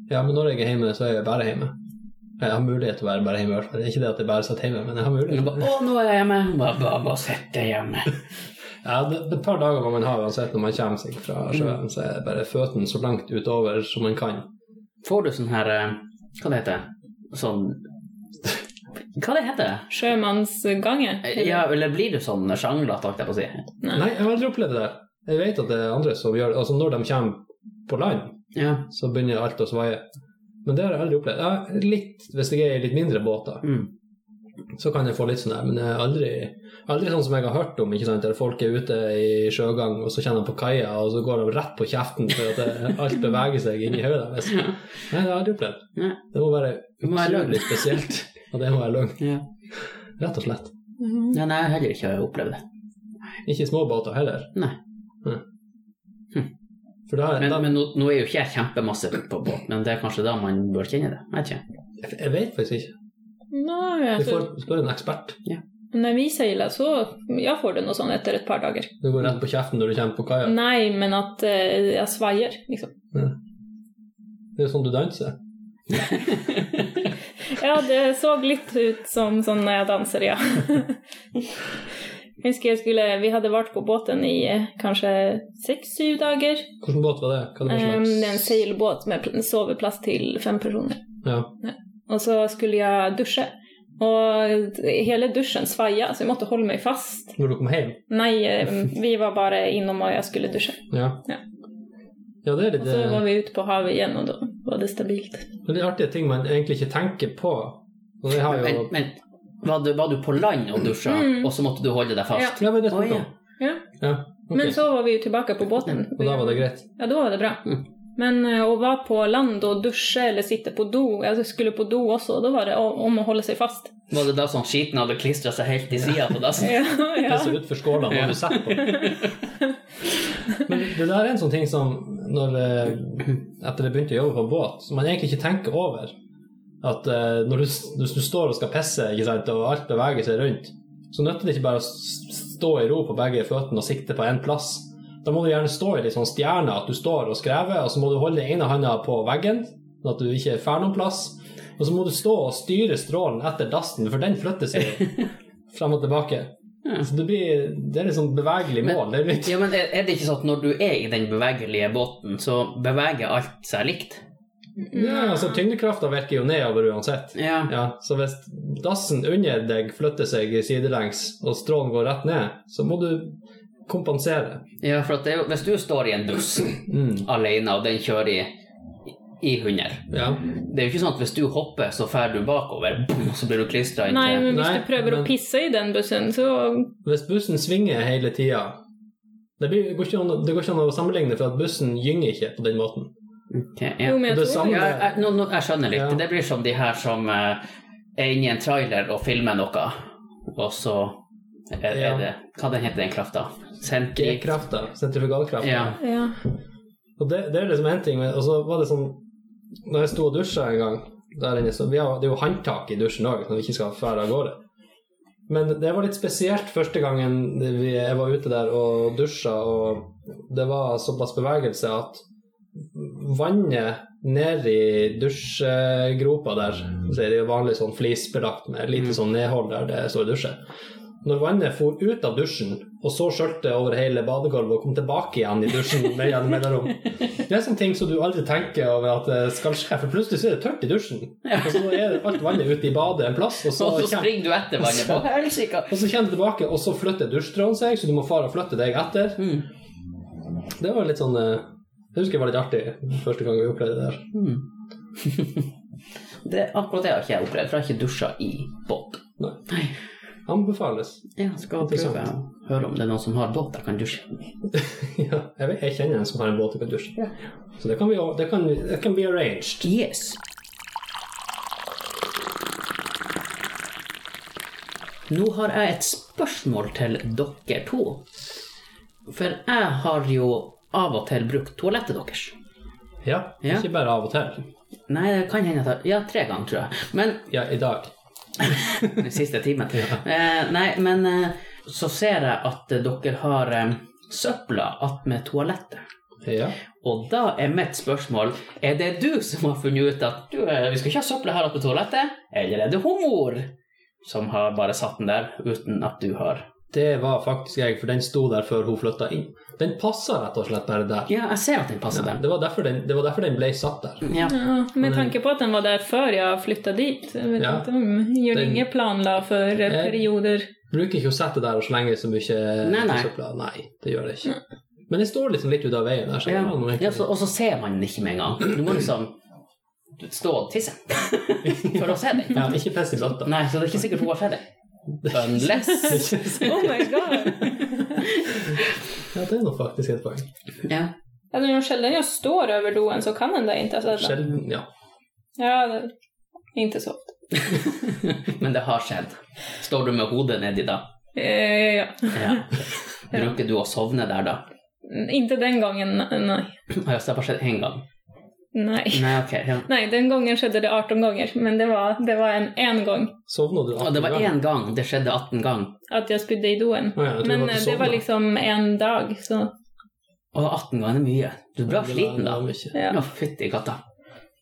B: Ja, men når jeg er hjemme, så er jeg bare hjemme. Jeg har mulighet til å være bare hjemme, i hvert fall. Ikke det at jeg bare satt hjemme, men jeg har
A: Men
B: mulighet.
A: ba, å, nå er jeg hjemme! Bare, bare, bare sett deg hjemme.
B: Ja, det det er et par dager hvor man har uansett når man kommer seg fra sjøen, så er det bare føttene så langt utover som man kan.
A: Får du sånn her eh, Hva det heter Sånn Hva det heter det?
C: sjømannsgange.
B: Eh,
A: Ja, eller blir du sånn sjanglete, holdt jeg på å si?
C: Nei.
B: Nei, jeg har aldri opplevd det der. Jeg vet at det er andre som gjør det. Altså, når de kommer på land,
A: Ja.
B: så begynner alt å svaie. Men det har jeg aldri opplevd. Ja, litt, hvis jeg er i litt mindre båter,
A: Mm.
B: så kan jeg få litt sånn der, men jeg er aldri, aldri sånn som jeg har hørt om, ikke sant, der folk er ute i sjøgang, og så kjenner de på kaia, og så går de rett på kjeften for at det, alt beveger seg inni hodet deres. Nei, det har jeg aldri opplevd.
A: Nei.
B: Det må være
A: Det må være løgn.
B: utrolig spesielt, og det må være løgn.
A: Ja.
B: Rett og slett.
A: Ja, nei, jeg har heller ikke opplevd det.
B: Ikke små båter heller.
A: Nei.
B: Hm.
A: Hm.
B: For da,
A: Men,
B: da,
A: men nå, nå er jo ikke jeg kjempemasse på båt, men det er kanskje da man bør kjenne det. Jeg vet ikke.
B: Jeg vet faktisk ikke.
C: Nei,
B: Du
C: altså,
B: får spørre en ekspert.
C: Når vi seiler, så ja, får du noe sånt etter et par dager.
B: Du går rett på kjeften når du kommer på kaia.
C: Nei, men at eh, jeg svaier, liksom.
B: Det er jo sånn du danser.
C: Ja, det så litt ut som sånn når jeg danser, ja. *laughs* Jeg husker jeg skulle, Vi hadde vært på båten i eh, kanskje seks-syv dager.
B: Hvilken båt var det? Hva det var
A: Ehm,
C: Em,
B: slags?
C: Ehm, det er en seilbåt med pl- soveplass til fem personer.
B: Ja.
C: Og så skulle jeg dusje, og hele dusjen svaia, så jeg måtte holde meg fast.
B: Når du kom hjem?
C: Nei,
B: *laughs*
C: em, vi var bare innom og jeg skulle dusje.
B: Ja.
C: Ja.
B: Ja, det er litt,
C: Og så var
B: det
C: vi ute på havet igjen, og da var det stabilt.
B: er litt artige ting man egentlig ikke tenker på. Og det har
A: Men,
B: jo
A: men var, du, var du på land og dusja,
C: Mm.
A: og så måtte du holde deg
C: Ja.
A: fast?
B: Ja, men det
A: Å,
B: snakket
A: ja.
B: om.
C: Ja.
B: Ja, ok.
C: Men så var vi jo tilbake på båten.
B: Og da var det greit.
C: Ja, da var det bra.
A: Mm.
C: Men eh, å være på land og dusje eller sitte på do Jeg skulle på do også, og da var det å- om å holde seg
B: *laughs*
C: fast.
A: Var det da sånn skiten hadde klistra seg helt i sida på dassen?
C: Ja,
B: Det
C: ja.
B: ser ut for skålene når du setter
C: *laughs*
B: på. Men det der er en sånn ting som når, eh, etter jeg begynte å jobbe på båt, som man egentlig ikke tenker over. At eh, når du, s- hvis du står og skal pisse, ikke sant, og alt beveger seg rundt, så nytter det ikke bare å s- s- stå i ro på begge føttene og sikte på én plass. Da må du gjerne stå i litt sånn stjerne, at du står og skrever, og så må du holde ene handa på veggen, sånn at du ikke drar noen plass. Og så må du stå og styre strålen etter dassen, for den flytter
A: *laughs*
B: seg jo frem og tilbake.
A: Ja.
B: Så det blir Det er litt sånn bevegelig
A: Men-
B: mål. Det er litt
A: Ja, men er er det ikke sånn at når du er i den bevegelige båten, så beveger alt seg likt?
B: ja, altså Tyngdekrafta virker jo nedover uansett.
A: Ja.
B: Ja, så hvis dassen under deg flytter seg sidelengs, og strålen går rett ned, så må du kompensere.
A: ja for at det, er jo- hvis du står i en buss
B: Mm.
A: alene, og den kjører i, i 100
B: Ja.
A: Det er jo ikke sånn at hvis du hopper, så drar du bakover, boom, så blir du klistra inntil
C: Nei, men hvis
B: Nei,
C: du prøver å
B: men-
C: pisse i den bussen, så
B: Hvis bussen svinger hele tida det, blir, det, går ikke an, det går ikke an å sammenligne, for at bussen gynger ikke på den måten.
A: Ok, ja.
C: Jo, men jeg
B: Det
C: tror
B: samme-
A: Ja, jeg, nå, nå, jeg skjønner litt.
B: Ja.
A: Det blir som de her som eh, er inne i en trailer og filmer noe, og så er,
B: Ja.
A: er det Hva den heter den krafta? Senti...
B: G-krafta. Sentrifugalkrafta.
A: Ja.
C: Ja.
B: Og det, det er liksom en ting, men- og så var det sånn Når jeg sto og dusja en gang der inne, så vi har, Det er jo håndtak i dusjen òg når vi ikke skal fære av gårde. Men det var litt spesielt første gangen vi, jeg var ute der og dusja, og det var såpass bevegelse at vannet ned i dusjgropa der så er det jo vanlig sånn flisbelagt med et
A: Mm.
B: lite sånn nedhold der det står dusjer. Når vannet for ut av dusjen, og så skjølte over hele badegulvet og kom tilbake igjen i dusjen med gjennom mellomrom Det er sånne ting som du aldri tenker over at det skal skje, for plutselig så er det tørt i dusjen. Og så er alt vannet ute i badet en plass, og *laughs* så,
A: Og så
B: kommer-
A: springer du etter vannet
B: *laughs*
A: på helsike!
B: og så kommer det tilbake, og så flytter dusjtråden seg, så du må fare og flytte deg etter.
A: Mm.
B: Det var litt sånn eh, Jeg husker det var litt artig første gang vi opplevde det der.
A: Mm. det, akkurat det har ikke jeg opplevd, for jeg har ikke dusja i båt.
B: Anbefales. *laughs*
A: Jeg skal prøve å
B: Interessant.
A: høre om det er noen som har båt jeg kan dusje i.
B: ja, jeg, vet, jeg kjenner en som har en båt og kan dusje. Så det kan, vi, det, kan, det kan bli arranged.
A: Yes. Nå har jeg et spørsmål til dere to. For jeg har jo av og til brukt toalettet deres.
B: Ja,
A: Ja.
B: Ikke bare av og til.
A: Nei, det kan hende at jeg Ja, tre ganger, tror jeg. Men
B: Ja, i dag.
A: *laughs* den siste timen. *laughs* Eh, nei, men eh, så ser jeg at dere har eh, søpla attmed toalettet.
B: Ja.
A: Og da er mitt spørsmål Er det du som har funnet ut at du, eh, vi skal ikke ha søpla her oppe på toalettet? Eller er det humor som har bare satt den der uten at du har
B: Det var faktisk jeg, for den sto der før hun flytta inn. Den passa rett og slett bare der.
A: Ja, jeg ser at den passer der.
B: Det var derfor den, det var derfor den ble satt der.
A: Ja.
C: Ja, med tanke på at den var der før jag flyttade dit. Jag vet
B: Ja.
C: inte om gjorde
B: Den-
C: inga plan då för eh,
B: Nej. *laughs*
C: perioder.
B: Bruker ikke å sette der og slenge så mye
A: Nei, nei.
B: søpla. Nei, det gjør det ikke. Men det står liksom litt ut av veien der. Så
A: Ja,
B: det var noe egentlig-
A: ja så, Og så ser man den ikke med en gang. Du må liksom stå og *laughs* tisse for å se den.
B: ja, ikke piss i salta.
A: Nei, så det er ikke sikkert hun har sett det. Unless *laughs*
C: Oh my god!
B: *laughs* Ja, det er nå faktisk et poeng.
A: ja.
C: Alltså, när sällan jag står över doen så kan den där inte ha sett den.
B: Sjelden, ja.
C: Ja, det- inte så ofta.
A: Men det har skjedd. Står du med hodet nedi da?
C: Eh, ja.
A: Ja. Bruker du å sovne der da?
C: Mm, Inte den gången, nej.
A: Har jeg bare skjedd én gang?
C: Nej.
A: Nei, ok. Ja.
C: Nej, den gången skedde det 18 gånger, men det var, det var en, en gång
B: Sovna du?
A: Og det var én gang. Det skjedde 18 ganger.
C: att jag spydde i doen.
B: Ja, jeg tror det
C: Men
B: var
C: eh,
B: ikke
C: det var
B: sovna.
C: liksom en dag, så
A: Og 18 ganger er mye. Du er bra
B: Det var-
A: sliten da.
B: det var mye.
A: Ja,
C: ja.
A: fytti katta.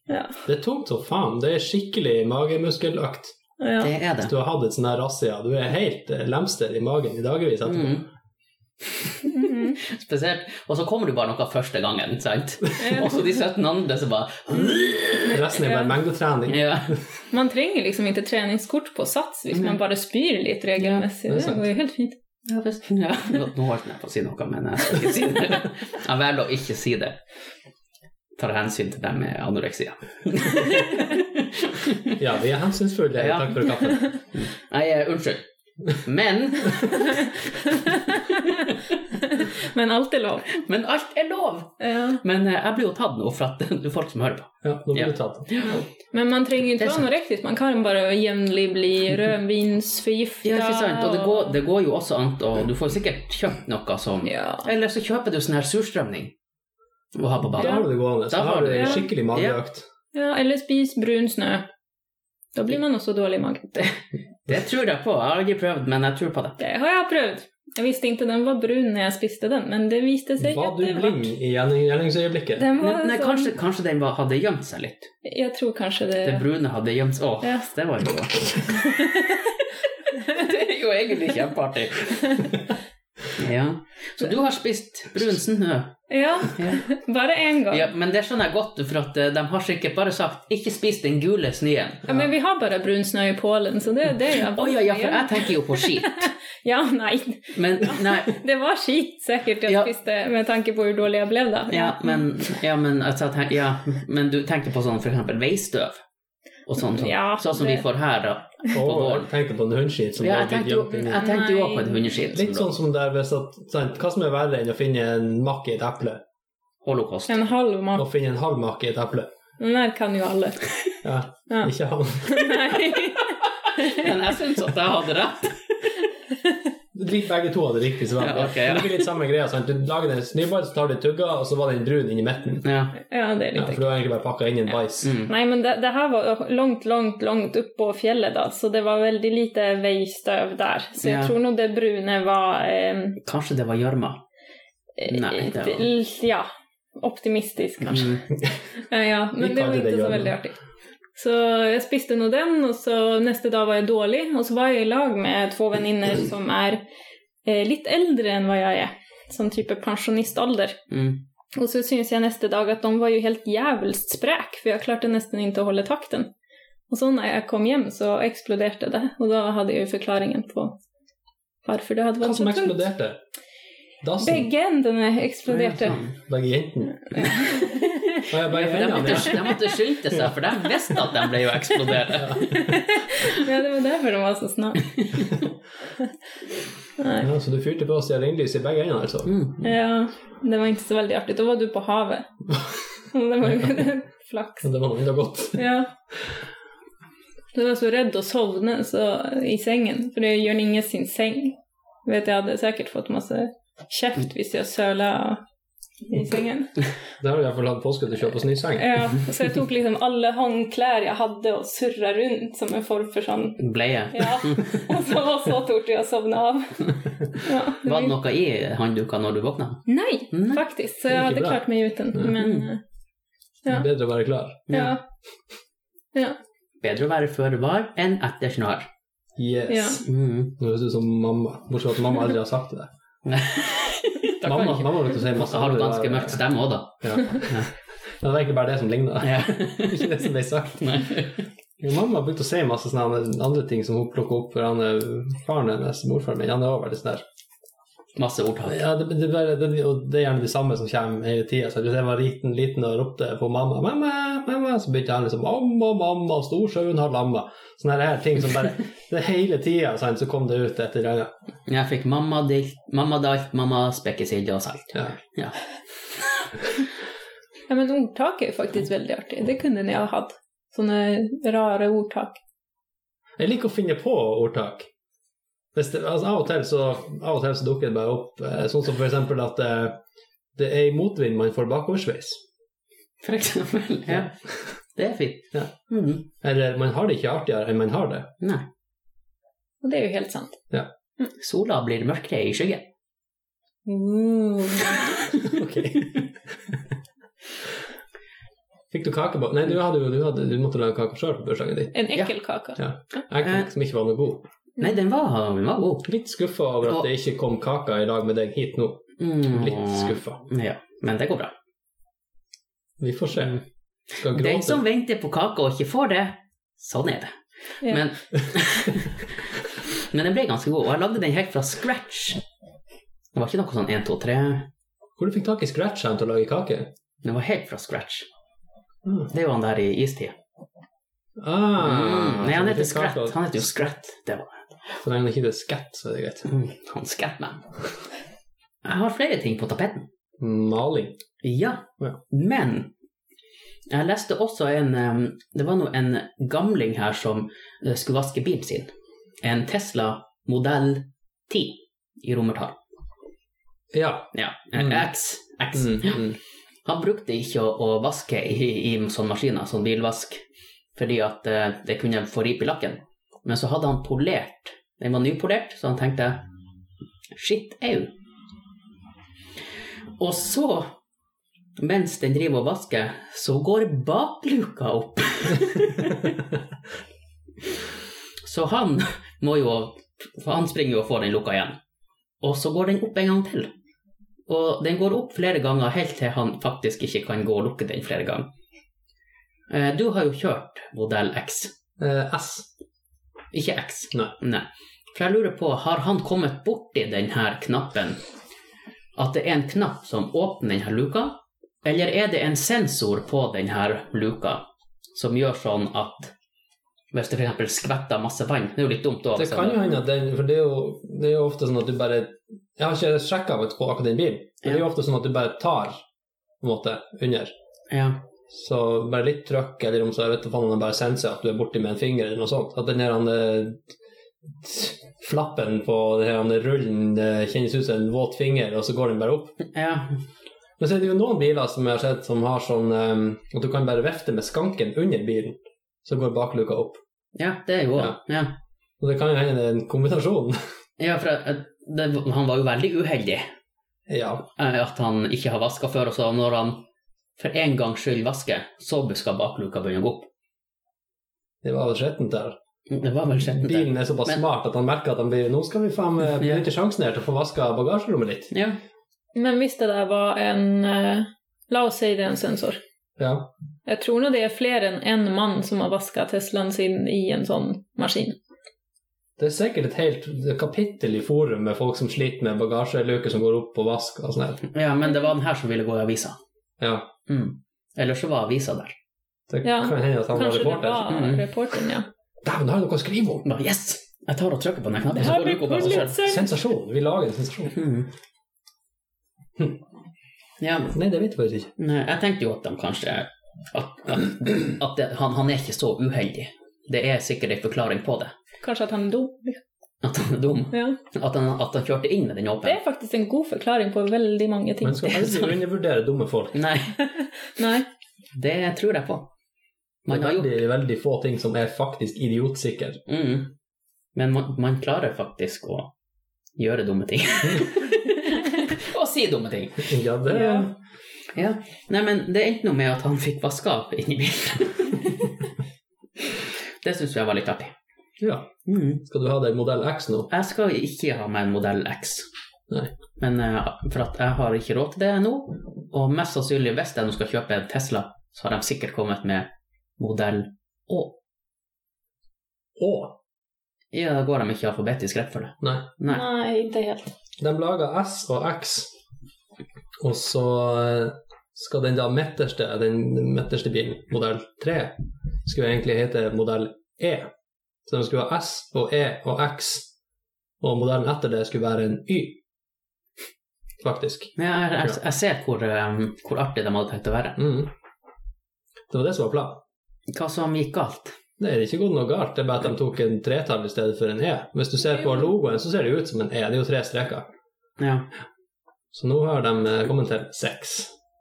C: ja,
B: Det er tungt som faen. Det er skikkelig magemuskeløkt.
C: ja.
A: Det er det.
B: Du har hatt et sånn her razzia. Du er helt eh, lemster i magen i dagevis etterpå.
A: Mm. Mhm. *laughs* Spesielt. Og så kommer du bare noe første gangen, sant? *laughs* Og så de 17 andre som bare
B: Resten er bare
C: Ja.
B: mengdetrening.
A: ja.
C: Man trenger liksom inte träningskort på Sats hvis man bara spyr lite regelmässigt.
B: Ja, det är
C: det
B: sant.
C: går ju helt fint.
A: Ja, visst. ja. Nå holdt jeg på å si noe, men jeg skal ikke si det. Jeg velger å ikke si det. Tar hensyn til dem med anoreksia.
B: Ja, vi er hensynsfulle.
A: Ja.
B: Takk for kaffen.
A: Nei, eh, unnskyld. Men,
C: Men allt är lov.
A: men alt er lov!
C: Ja.
A: Men eh, jeg blir jo tatt nå for at *laughs* det er folk som hører på.
B: Ja, nå blir
A: Ja.
B: du tatt.
C: Men man trenger ju inte
A: Det är
C: vara anorektisk, man kan bara jämnlig bli rödvinsförgiftad.
A: Ja, ikke sant? Og det
C: och-
A: går, det går jo også an å Du får sikkert kjøpt noe som
C: Ja.
A: Eller så kjøper du sånn her surstrømning å ha på
B: Da
A: badet.
B: har du det gående.
A: Da
B: Så
A: har
B: har
A: du
B: du
C: det.
B: skikkelig mageøkt.
C: ja, eller spis brun snö. Då blir man också dålig i magen.
A: Det tror jeg på. Jeg har aldri prøvd, men jeg tror på det.
C: Det har jag prövat. Jag visste inte den var brun när jag spiste den, men det visade sig
B: Var
C: att
B: du
C: det var...
B: blind i gjerning- gjerningsøyeblikket?
C: Den var
A: Men, nei,
C: sån-
A: kanskje, kanskje den var, hadde gjemt seg litt.
C: Jag tror kanske
A: Det
C: det...
A: brune hadde gjemt seg. Åh,
C: Ja.
A: det var jo *laughs* Det er jo egentlig kjempeartig. *laughs* Ja. Så du har spist brun snø.
C: Ja,
A: Ja.
C: *laughs* bara en
A: Ja,
C: gång. Ja.
A: men det skjønner jeg godt, for at eh, de har sikkert bare sagt 'ikke spis den gule snøen'.
C: men vi har bara brun snö i Polen, så det, det är jag
A: Å ja, ja, for jeg tenker jo på skit.
C: Ja, nej.
A: Men nei,
C: Det var skit säkert jag
A: Ja.
C: spiste med tanke på hur dålig jag blev då.
A: ja, men, ja, men, altså, jeg tenker- ja, men du tenker på sånn for eksempel veistøv? Og sånn, sånn,
C: Ja,
A: sånn som vi
C: det-
A: får her, da. På
B: Åh,
A: våren.
B: jeg tenkte på en hundskit som
A: Ja,
B: lå
A: jeg tenkte jo
B: gjemt inni.
A: jeg tenkte jo også på en hundeskitt.
B: Litt sånn som der hvis at sant, Hva som er verre enn å finne en makk i et eple?
A: holocaust.
C: En halv
B: Å
C: mat.
B: finne en halv make i et eple.
C: Den der kan jo alle.
B: Ja,
C: Ja.
B: ikke han. *laughs*
C: Nei.
A: *laughs* Men jeg syns at jeg hadde rett.
B: De begge to hadde riktig svar.
A: Ja, ok, ja.
B: Men Det blir litt samme greia. sant? Du lager den snøball, så tar du tugga, og så var den brun inni midten.
A: Ja.
C: Ja, det er
B: Ja,
C: litt
B: for du har egentlig bare pakka inn en bæsj.
A: Mm.
C: Nei, men det, det her var jo langt, langt, langt oppå fjellet, da, så det var veldig lite veistøv der. Så jeg
A: Ja.
C: tror nå det brune var eh,
A: Kanskje det var gjørma.
C: eh,
A: Nei, det var-
C: l- Ja. Optimistisk, kanskje.
A: Mm.
C: Ja, ja, men
B: Vi
C: det var
B: kalte det
C: ikke så
B: gjørme.
C: veldig artig. Så jeg spiste nå den, og så neste dag var jeg dårlig. Og så var jeg i lag med to venninner som er eh, litt eldre enn hva jeg er. Sånn type pensjonistalder.
A: Mm.
C: Og så syns jeg neste dag at de var jo helt jævelst sprek, for jeg klarte nesten ikke å holde takten. Og så når jeg kom hjem, så eksploderte det, og da hadde jeg jo forklaringen på hvorfor det hadde
B: Hva
C: vært
B: som
C: så tungt.
B: eksploderte? Dassen?
C: Begge endene eksploderte.
B: Begge jentene? Å ja, begge
A: Sånn. De
B: hendene,
A: måtte,
B: ja.
A: de måtte skynde seg, for de visste at de ble jo eksplodert.
C: Ja, det var derfor de var så snar.
B: *laughs*
C: Nei.
B: ja. Så du fyrte på stearinlys i begge endene, altså?
A: Mm.
C: Ja, det var ikke så veldig artig. Da var du på
B: *laughs*
C: havet. Og det var jo *laughs* flaks.
B: Men det var noe enda godt.
C: Ja. Jeg var så redd å sovne så, i sengen, for det er Jørn Inge sin seng. Vet Jeg hadde sikkert fått masse kjeft hvis jeg søla i sengen.
B: Da har du iallfall hatt påskudd til å kjøpe oss ny seng.
C: Ja, så jeg tok liksom alle håndklær jeg hadde og surra rundt som en form for sånn
A: Bleie.
C: Ja. Og så, og så torde jeg å sovne av. Ja.
A: Var det noe i håndduka når du våkna?
C: Nei,
A: Nei.
C: faktisk. Så
B: Det
C: jeg
B: gikk
C: hadde
B: bra.
C: klart meg uten. Men eh, Ja.
B: Bedre å være klar.
C: ja. Ja.
A: Bedre å være før var enn etter snar.
B: Yes.
C: Ja.
A: Mm.
B: Nå høres det ut som mamma, bortsett fra at mamma aldri har sagt det.
A: Da kan
B: Mamma,
A: ikke-
B: mamma brukte å si masse
A: Så har du
B: andre-
A: ganske mørkt stemme òg, da.
B: Ja. Det var egentlig bare *laughs* det som ligna.
A: Ja.
B: Ikke det som ble sagt.
A: *laughs* Nei.
B: Jo, mamma begynte å si masse sånne andre ting som hun plukka opp for han, eh, faren hennes, morfaren min. Han er også veldig sånn der.
A: Masse ordtak.
B: Ja, det, det, er bare, det, og det er gjerne de samme som kommer hele tida. Så hvis jeg var liten, liten og ropte på mamma, mamma, mamma, så begynte han liksom mamma, mamma, storsjøen har lamma. Sånne her ting som bare det Hele tida sant, så kom det ut et eller annet.
A: Jeg fikk mamma dilt, mamma dalt, mamma spekkesilde og salt.
B: Ja.
A: Ja.
C: Ja, men ordtak er jo faktisk veldig artig. Det kunne ni ha hatt. Sånne rare ordtak.
B: Jeg liker å finne på ordtak. Hvis det, altså, av, og til så, av og til så dukker det bare opp eh, sånn som f.eks. at eh, det er i motvind man får bakoversveis.
A: For eksempel. Ja. Det er fint.
B: Ja.
A: Mhm.
B: Eller man har det ikke artigere enn man har det.
A: Nei.
C: Og det er jo helt sant.
A: Sola blir mørkere i skyggen.
B: Ok. *laughs* Fikk du kakebak? Nei, du, hadde, jo- du, hadde, du måtte lage kake sjøl på bursdagen din.
C: En ekkel kake.
B: Ja. Jeg kake som ikke var noe god.
A: Nei, den var, den var god.
B: Litt skuffa over at det ikke kom kaka i lag med deg hit nå.
A: Mm.
B: Litt skuffa.
A: Ja, men det går bra.
B: Vi får se. Skal
A: Den
B: gråte.
A: Mm. som venter på kake og ikke får det, sånn er det.
C: Ja.
A: Men, *laughs* men den ble ganske god, og jeg lagde den helt fra scratch. Det var ikke noe sånn 1, 2, 3.
B: Hvor du fikk tak i scratcheren til å lage kake?
A: Den var helt fra scratch.
B: Mm.
A: Det er jo han der i istida.
B: Ah,
A: Mm. Nei, han
B: så du
A: heter
B: fikk kake
A: Scrat.
B: av-
A: Han heter jo Scrat. Det var
B: Så lenge det ikke er skatt, så er det greit.
A: Mm, han Scatman. Jeg har flere ting på tapeten.
B: Maling.
A: Ja,
B: Ja.
A: men jeg leste også en um, Det var nå en gamling her som eh, skulle vaske bilen sin. En Tesla modell 10 i romertall.
B: Ja.
A: Ja, eh,
B: Mm.
A: X. X.
B: Mm, mm.
A: Han brukte ikke å, å vaske i, i sånne maskiner, sånn bilvask, fordi at eh, det kunne få rip i lakken. Men så hadde han polert. Den var nypolert, så han tenkte Shit, au. Og så, mens den driver og vasker, så går bakluka opp. så han må jo For han springer jo og får den lukka igjen. Og så går den opp en gang til. Og den går opp flere ganger helt til han faktisk ikke kan gå og lukke den flere ganger. Eh, Du har jo kjørt modell X,
B: Eh, S.
A: ikke X.
B: Nei.
A: For jeg lurer på, har han kommet borti denne knappen? At det er en knapp som åpner denne luka? Eller er det en sensor på denne luka som gjør sånn at hvis det f.eks. skvetter masse vann Det er jo litt dumt òg.
B: Det kan jo hende at den For det er jo, det er jo ofte sånn at du bare Jeg har ikke sjekka på akkurat den bilen, men det er jo ofte sånn at du bare tar på en måte, under.
A: Ja.
B: Så bare litt trøkk, eller om så jeg vet ikke om den bare senser at du er borti med en finger, eller noe sånt. At den her han, eh, t- flappen på den her han, rullen eh, kjennes ut som en våt finger, og så går den bare opp.
A: ja.
B: Men så er det jo noen biler som jeg har sett som har sånn eh, at du kan bare vefte med skanken under bilen, så går bakluka opp.
A: Ja, det er jo
B: Ja.
A: ja.
B: Og det kan jo hende det er en kombinasjon. *laughs*
A: ja, for eh, det, han var jo veldig uheldig
B: ja.
A: eh, at han ikke har vaska før, og så når han for en gangs skyld vasker, så skal bakluka begynne å gå opp.
B: Det var vel skjettent der.
A: Det var vel skjettent. det.
B: Bilen er såpass
A: Men-
B: smart at han merker at han blir Nå skal vi faen meg
A: Ja.
B: benytte sjansen her til å få vaska bagasjerommet litt.
A: Ja.
C: Men hvis det der var en eh, La oss si det er en sensor.
B: Ja.
C: Jeg tror nå det er flere enn én mann som har vaska Teslaen sin i en sånn maskin.
B: Det er sikkert et helt kapittel i forum med folk som sliter med bagasjeluker som går opp på vask og sånn. her.
A: ja, men det var den her som ville gå i avisa.
B: Ja.
A: Mm. Ellers så var avisa der.
B: Det
C: Ja.
B: kan hende at han var
C: Kanskje det
B: reporter.
C: var
A: Mm.
C: reporteren, ja.
B: Dæven, har jeg noe å skrive om!
A: Bare, yes! Jeg tar og trykker på den knappen,
C: Det
A: så
C: her
A: går det
C: blir
A: ikke opp av seg selv.
C: koselig.
B: Sensasjon! Vi lager en sensasjon.
A: Mm.
B: Hm.
A: Hmm. Ja,
B: Nei, det vet jeg faktisk ikke.
A: nei, jeg tenkte jo at de kanskje At, at, at det, han, han er ikke så uheldig. Det er sikkert en forklaring på det.
C: Kanskje at han dum.
A: At han er dum.
C: Ja.
A: At han, at han kjørte inn med den
C: Det
A: åpen.
C: er faktisk en god forklaring på veldig mange ting.
B: Man skal aldri undervurdere dumme folk.
A: Nei,
C: Nei.
A: det tror jeg på.
B: Det
A: Man
B: er
A: har gjort
B: veldig, veldig få ting som er faktisk idiotsikre.
A: mm. Men man, man klarer faktisk å gjøre dumme ting. *laughs* og si dumme ting.
B: Ja, det
C: Ja.
A: Ja. Nei, men det endte noe med at han fikk vaska opp inni bilen. *laughs* det syns jeg var litt artig.
B: ja.
A: Mm.
B: Skal du ha deg modell X nå?
A: Jeg skal ikke ha meg en modell X.
B: Nei.
A: Men eh, for at jeg har ikke råd til det nå, og mest sannsynlig hvis jeg nå skal kjøpe en Tesla, så har de sikkert kommet med modell Å.
B: Å!
A: Ja, da går de ikke i alfabetisk rekkefølge.
B: Nei.
A: Nei.
C: ikke helt.
B: De lager S og X, og så eh, skal den da midterste, den midterste bilen, modell 3, skulle egentlig hete modell E. Så de skulle ha S og E og X, og modellen etter det skulle være en Y, faktisk.
A: Men jeg, jeg, jeg ser hvor, eh, hvor artig de hadde tenkt å være.
B: Mm. Det var det som var planen.
A: Hva som gikk galt.
B: Nei, det er ikke gått noe galt, det er bare at de tok en tretall i stedet for en E. Hvis du ser på logoen, så ser det jo ut som en E, det er jo tre streker.
A: Ja.
B: Så nå har de eh, kommet til 6,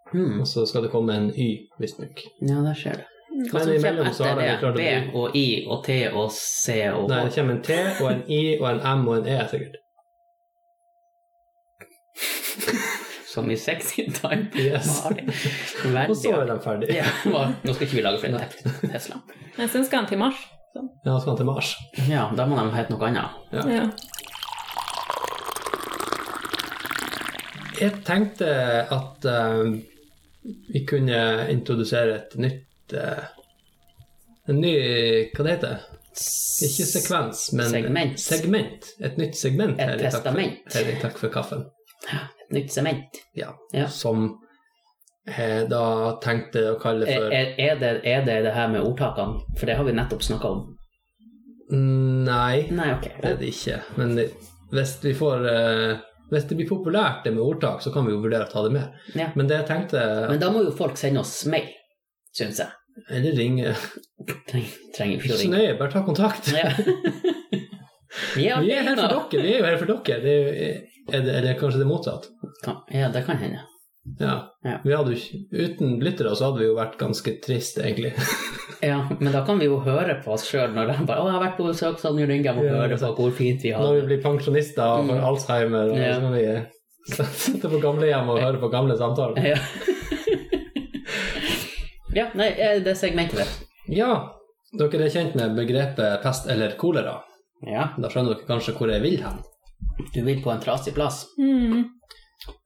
A: Hmm.
B: Mm. og så skal det komme en Y, visstnok.
A: ja, der ser du. Hva
B: Men
A: som kommer
B: imellom så
A: etter
B: har de klart å
A: det? B
B: bli-
A: og I og T og C og
B: Nei,
A: H.
B: det kommer en T og en I og en M og en E, sikkert.
A: Som i sexy time.
B: Yes. *laughs*
A: Veldig
B: Og så er de ferdige.
A: Ja, hva- nå skal ikke vi lage flere Te- Tesla.
C: Men sen skal han til Mars. Så.
B: Ja, så skal han til Mars.
A: Ja, da må de hete noe annet.
C: Ja.
B: Jeg tenkte at eh, vi kunne introdusere et nytt eh, En ny Hva det heter det? Ikke sekvens, men
A: Segment.
B: segment. Et nytt segment.
A: Et
B: Terje. Takk for-
A: testament.
B: Terje, takk for kaffen.
A: Et nytt sement.
B: Ja.
A: Ja.
B: Som jeg da tenkte å kalle
A: Er,
B: for
A: er, er, det, er det det her med ordtakene? For det har vi nettopp snakka om.
B: Nei,
A: Nei, ok.
B: det er det ikke. Men det- hvis vi får eh, Hvis det blir populært det med ordtak, så kan vi jo vurdere å ta det med.
A: Ja.
B: Men det jeg tenkte
A: Men da må jo folk sende oss mail, syns jeg.
B: Eller ringe.
A: Treng, trenger ikke
B: Ikke
A: å
B: så
A: ringe.
B: nøye, bare ta kontakt.
A: Ja. *laughs* Vi
B: Vi er her for
A: alene.
B: dere. Vi er jo her for dere. Det er, jo- er, det, er det kanskje det motsatt?
A: Kan- Ja, det kan hende.
B: Ja.
A: Ja.
B: Vi hadde jo ikke- uten lyttere så hadde vi jo vært ganske trist, egentlig.
A: Ja, Men da kan vi jo høre på oss sjøl når de bare 'Å, jeg har vært på besøk, så nå ringer jeg og
B: Ja,
A: hører på hvor fint vi har
B: Når vi
A: det'.
B: blir pensjonister og får
A: Mm.
B: Alzheimer og
A: Ja.
B: så må vi eh, *laughs* sitte på gamlehjem og høre på gamle samtaler.
A: Ja. *laughs* ja, nei, eh, det segmentet der.
B: Ja, dere er kjent med begrepet pest eller kolera.
A: Ja.
B: Da skjønner dere kanskje hvor jeg vil hen.
A: Du vil på en trasig plass.
C: Mm.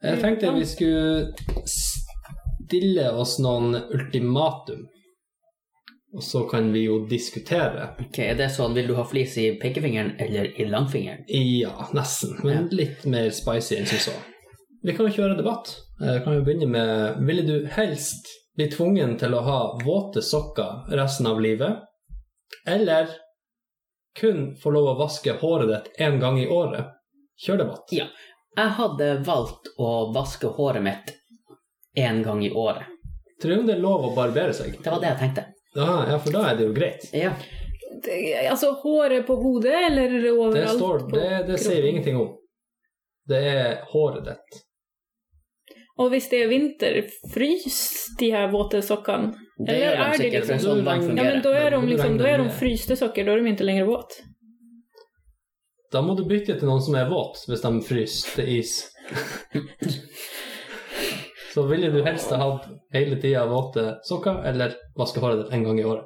B: Jeg tenkte vi skulle stille oss noen ultimatum, og så kan vi jo diskutere.
A: Ok, Er det sånn vil du ha flis i pekefingeren eller i langfingeren?
B: Ja, nesten, men litt mer spicy enn som så. Vi kan jo kjøre debatt. Jeg kan jo begynne med Ville du helst bli tvungen til å ha våte sokker resten av livet, eller kun få lov å vaske håret ditt én gang i året? Kjør debatt.
A: Jeg hadde valgt å vaske håret mitt én gang i året.
B: Tror du det er lov å barbere seg?
A: Det var det jeg tenkte.
B: Ah, ja, for da er det jo greit.
A: Ja.
C: Det, altså håret på hodet, eller overalt?
B: Det står,
C: på
B: det, det sier
C: kroppen?
B: vi ingenting om. Det er håret ditt.
C: Og hvis det er vinter, frys de her våte sokkene?
A: Det
C: Eller
A: gjør
C: er
A: de
C: det
A: sikkert,
C: liksom-
A: men sånn de
C: Ja, men
A: fungerer.
C: da
B: Da
C: er de,
B: blir det
C: liksom, da er de
B: regnet.
C: fryste sokker, da er de ikke lenger våte.
B: Da må du bytte til noen som er våt, hvis de fryser til is. Så ville du helst ha hatt hele tida våte sokker, eller vaske håret ditt en gang i året.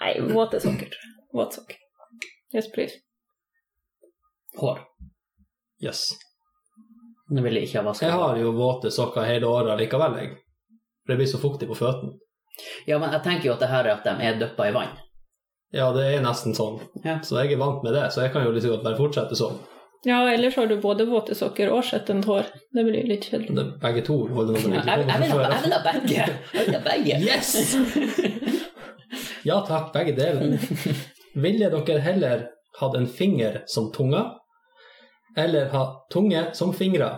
C: Nei, våte sokker. tror jeg. Våt sokker. Yes, please.
A: Hår.
B: Yes.
A: Nå vil jeg ikke ha vaska.
B: Jeg har jo våte sokker hele året likevel, jeg. For det blir så fuktig på føttene.
A: Ja, men jeg tenker jo at det her er at de er dyppa i vann.
B: Ja, det er nesten sånn.
A: Ja.
B: Så jeg er vant med det, så jeg kan jo liksom godt bare fortsette sånn.
C: Ja, ellers har du både våte sokker og skjettent hår. Det blir jo litt kjedelig.
B: Men det- Begge to holder noe
A: Jeg,
B: man
A: jeg,
B: ikke
A: jeg,
B: kommer
A: vil,
B: fra
A: ha, jeg
B: før.
A: vil ha begge. *laughs* Jeg vil ha begge.
B: Yes! Ja takk, begge deler. Ville dere heller hatt en finger som tunga, eller ha tunge som fingre?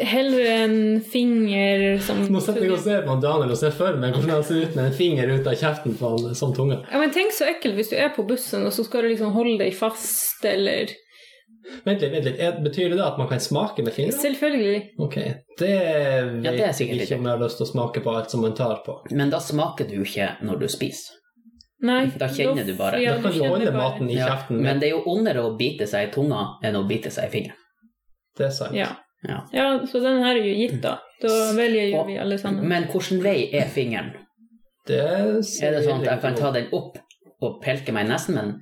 C: Heller en finger som
B: Nå setter jeg og ser på han Daniel og ser for meg hvordan han ser ut med en finger ut av kjeften på han som tunge.
C: Ja, men Tenk så ekkelt hvis du er på bussen, og så skal du liksom holde deg fast, eller
B: Vent litt, vent litt. Er- Betyr det da at man kan smake med fingrene?
C: Selvfølgelig.
B: Ok, det vet
A: Ja, det er sikkert
B: jeg ikke om jeg har lyst til å smake på alt som man tar på.
A: Men da smaker du ikke når du spiser.
C: Nei.
A: Da kjenner du bare.
C: ja,
B: da kan du
C: kjenner
B: holde
C: bare.
B: maten i
A: Ja,
B: kjeften.
A: Men det er jo ondere å bite seg i tunga enn å bite seg i fingeren.
B: Det er sant.
C: Ja.
A: Ja.
C: ja, så den her er jo gitt, da. Da velger jo
A: Og-
C: vi alle sammen.
A: Men hvilken vei er fingeren?
B: Det er
A: Er det sånn at jeg kan ta den opp og pelke meg i nesen med den?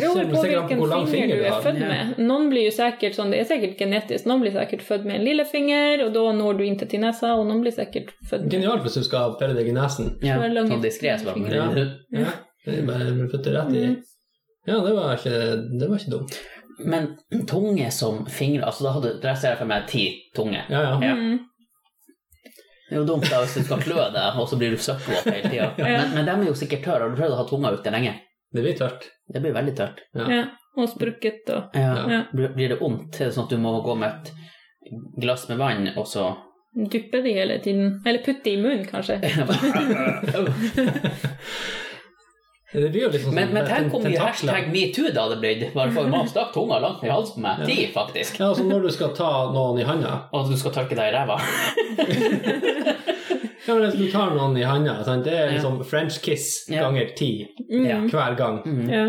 B: ser
C: beror
B: vel
C: på
B: sikkert an på
C: hvilken
B: hvor lang
C: finger,
B: finger
C: du
B: du
C: er
B: har.
C: født
A: Ja.
C: med. Noen blir jo sikkert sånn, det er sikkert genetisk, noen blir sikkert født med en lillefinger, og da når du ikke til nesa, og noen blir sikkert født med
B: Genialt hvis du skal pelle deg i nesen.
A: Ja,
C: Bare lange
A: sånn diskré. så
B: Ja.
A: bare-
B: Ja. Det er bare å putte rett i.
C: Mm.
B: Ja, det var ikke, det var ikke dumt.
A: Men tunge som fingre altså da hadde, Der ser jeg for meg ti tunge.
B: Ja, ja.
A: Ja.
C: Mm.
A: Det er jo dumt da hvis du skal klø deg, og så blir du søppelvåt hele tida.
C: Ja.
A: Men, men de er jo sikkert tørre. Har du prøvd å ha tunga ute lenge?
B: Det blir tørt.
A: Det blir veldig tørt.
B: Ja.
C: Ja. Og sprukket og
A: Ja.
C: ja.
A: Blir blir det vondt? Er det sånn at du må gå med et glass med vann, og så
B: *laughs*
C: Duppe de hele tiden. Eller putte i munnen, kanskje.
B: Det blir jo liksom
A: Men, men tenk om mye
B: tentakler.
A: hashtag metoo det hadde blitt. Bare for man stakk tunga langt ned i halsen på meg. Ti, faktisk.
B: Ja, altså når du skal ta noen i handa
A: Og at du skal tørke deg i ræva.
B: Ja, men hvis du tar noen i handa, sant? det er liksom French kiss
A: Ja.
B: ganger ti
A: Ja.
C: Mm.
B: hver gang.
C: Ja.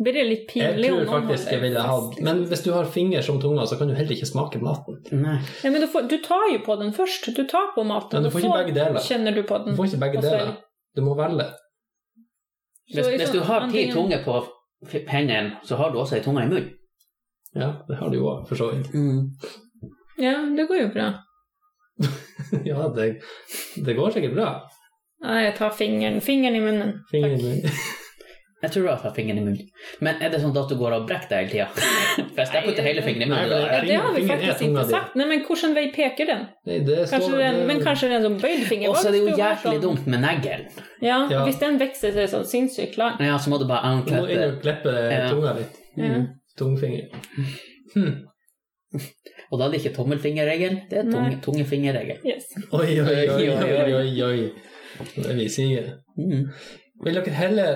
C: Blir det litt
B: Jeg
C: pinlig
B: tror
C: om noen
B: faktisk
C: har
B: jeg ville
C: det
B: hatt
C: fast?
B: Men hvis du har finger som tunga, så kan du heller ikke smake maten.
A: Nei.
C: Ja, men du, får, du tar jo på den først. Du tar på maten.
B: Ja, du får ikke
C: så
B: begge deler.
C: Kjenner du på
B: Du
C: den.
B: får ikke begge
C: Og så-
B: deler. Du må velge.
C: Så
A: Hvis,
C: liksom,
A: hvis du har ti
C: antingen-
A: tunger på f- hendene, så har du også ei tunge i munnen.
B: Ja, det har du jo også, for så vidt. *laughs*
C: Ja, det går jo bra.
B: Ja, det, det går sikkert bra.
C: Nei, jeg tar fingeren. Fingeren i munnen.
B: Fingeren i munnen.
A: Jeg tror jeg tar fingeren i munnen. Men er det sånn at du går og brekker deg hele tida? *laughs* Hvis jeg putter hele fingeren i
B: Nei,
A: munnen
B: men-
A: da-
C: Ja, det har vi
B: Fingeren- fingeren er
C: faktisk
B: tunga
C: ikke
B: di.
C: sagt. Nei, men hvordan vei peker den?
B: Nei, det står
C: Kanskje den,
B: det-
C: men kanskje den som sånn bøyd finger
A: Og så er det jo
C: bak, skulle vært
A: jæklig
C: sånn.
A: dumt med neglen.
C: Ja,
B: Ja.
C: hvis den vokser seg sånn sinnssykt lang.
A: Ja, så må du bare
B: Du må inn
A: anklette.
B: og klippe
A: Ja.
B: tunga litt.
C: Ja.
B: Tungfinger.
A: Og da er det ikke tommelfingerregel, det er tung,
C: Nei.
A: tungefingerregel.
C: Yes.
B: Oi, oi, oi,
A: Oi, oi,
B: oi, oi, oi. Det er vi sier.
A: Mm.
B: Vil dere heller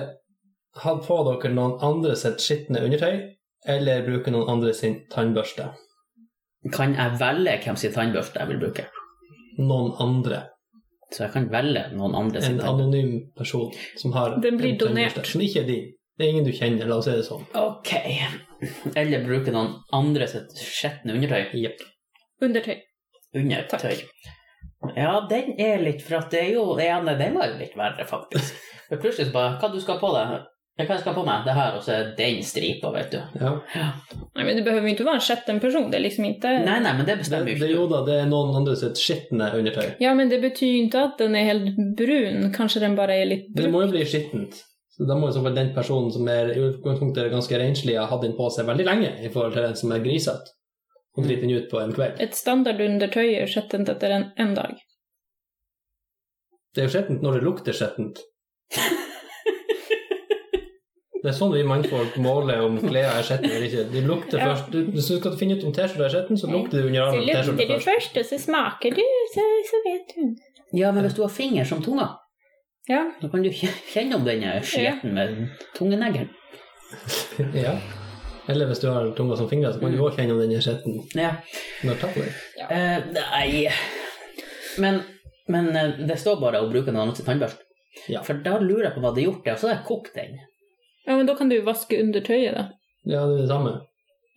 B: ha på dere noen andre sitt skitne undertøy, eller bruke noen andre sin tannbørste?
A: Kan jeg velge hvem sin tannbørste jeg vil bruke?
B: Noen andre.
A: Så jeg kan velge noen andre sin
B: En
A: tannbørste.
B: anonym person som har
C: Den blir
B: en tannbørste,
C: donert.
B: Som ikke er din. Det er ingen du kjenner, la oss si det sånn.
A: Ok. Eller bruke noen andre sitt skjetne undertøy.
B: Jepp.
C: Undertøy.
A: Undertøy. Ja, den er litt For at det er jo det ene, den var jo litt verre, faktisk. For plutselig så bare Hva du skal ha på deg? Ja, Hva jeg skal ha på meg? Det her, og så er den stripa, vet du.
B: Ja.
C: Nei, men Du behøver jo ikke være en sjette person. Det er liksom ikke
A: Nei, nei, men det
B: Det,
A: bestemmer jo
B: det,
A: ikke
B: jo
A: du.
B: da, det er noen andre sitt skitne undertøy.
C: Ja, men det betyr jo ikke at den er helt brun. Kanskje den bare er litt
B: Det
C: brun.
B: må jo bli skittent. Så da må i så fall den personen som er i utgangspunktet er ganske renslig, ha hatt den på seg veldig lenge i forhold til den som er grisete, og driter den ut på en kveld.
C: Et standardundertøy er skjettent etter en, en dag.
B: Det er jo skittent når det lukter skittent. Det er sånn vi mannfolk måler om klær er skitne eller ikke. De lukter
C: Ja.
B: først. Du- Hvis du skal finne ut om T-skjorta er skitten, så
C: Nei.
B: lukter det under
C: Så
B: armen på
C: lukter
B: T-skjorta
C: du
B: først.
C: først, og så smaker du, så, så vet du.
A: Ja, men hvis du har finger som tunga,
C: Ja.
A: da kan du kje- kjenne om denne skjeten med tungeneggeren.
B: Ja. Eller hvis du har tunga som fingre, så
C: Mm.
B: kan du òg kjenne om den er skitten.
A: Ja.
B: Når du tar på deg.
A: Eh, nei Men, men eh, det står bare å bruke noen annens tannbørste.
B: Ja.
A: For da lurer jeg på hva de har gjort, det, og så har jeg kokt den.
C: ja, men da kan du vaske under tøyet, da.
B: Ja, det er det samme.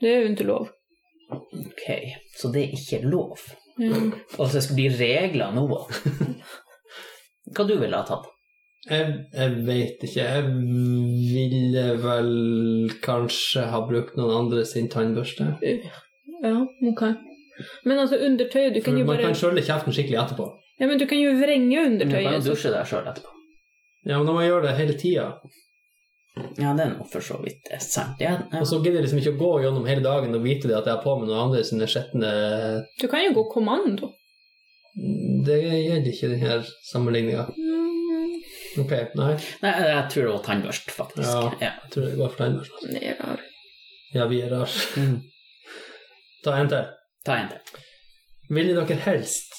C: Det er jo ikke lov.
A: Ok, Så det er ikke lov.
C: Ja.
A: Altså, det skal bli regler nå. Hva du ville ha tatt?
B: Jeg, jeg veit ikke. Jeg ville vel kanskje ha brukt noen andre sin tannbørste.
C: ja, ok. Men altså, under tøyet, du
B: For
C: kan jo
B: man
C: bare
B: kan skjølle kjeften skikkelig etterpå.
C: Ja, men du kan jo vrenge altså.
A: Du
C: under
A: kan jo
C: tøyet. så-
A: dusje deg sjøl etterpå.
B: Ja, men når man gjør det hele tida,
A: Ja, det er nå for så vidt eh, sant. Ja, ja.
B: og så gidder jeg liksom ikke å gå gjennom hele dagen og vite det at jeg har på meg noen andre sine skitne
C: Du kan jo gå kommando.
B: Det gjelder ikke den her sammenligninga.
C: Mm,
B: Ok, nei.
A: Nei, jeg tror det var tannbørst, faktisk. Ja.
B: Jeg tror jeg går for tannbørste.
C: det er rar.
B: Ja, vi er rar.
A: Mm.
B: Ta en til.
A: Ta en til.
B: Ville dere helst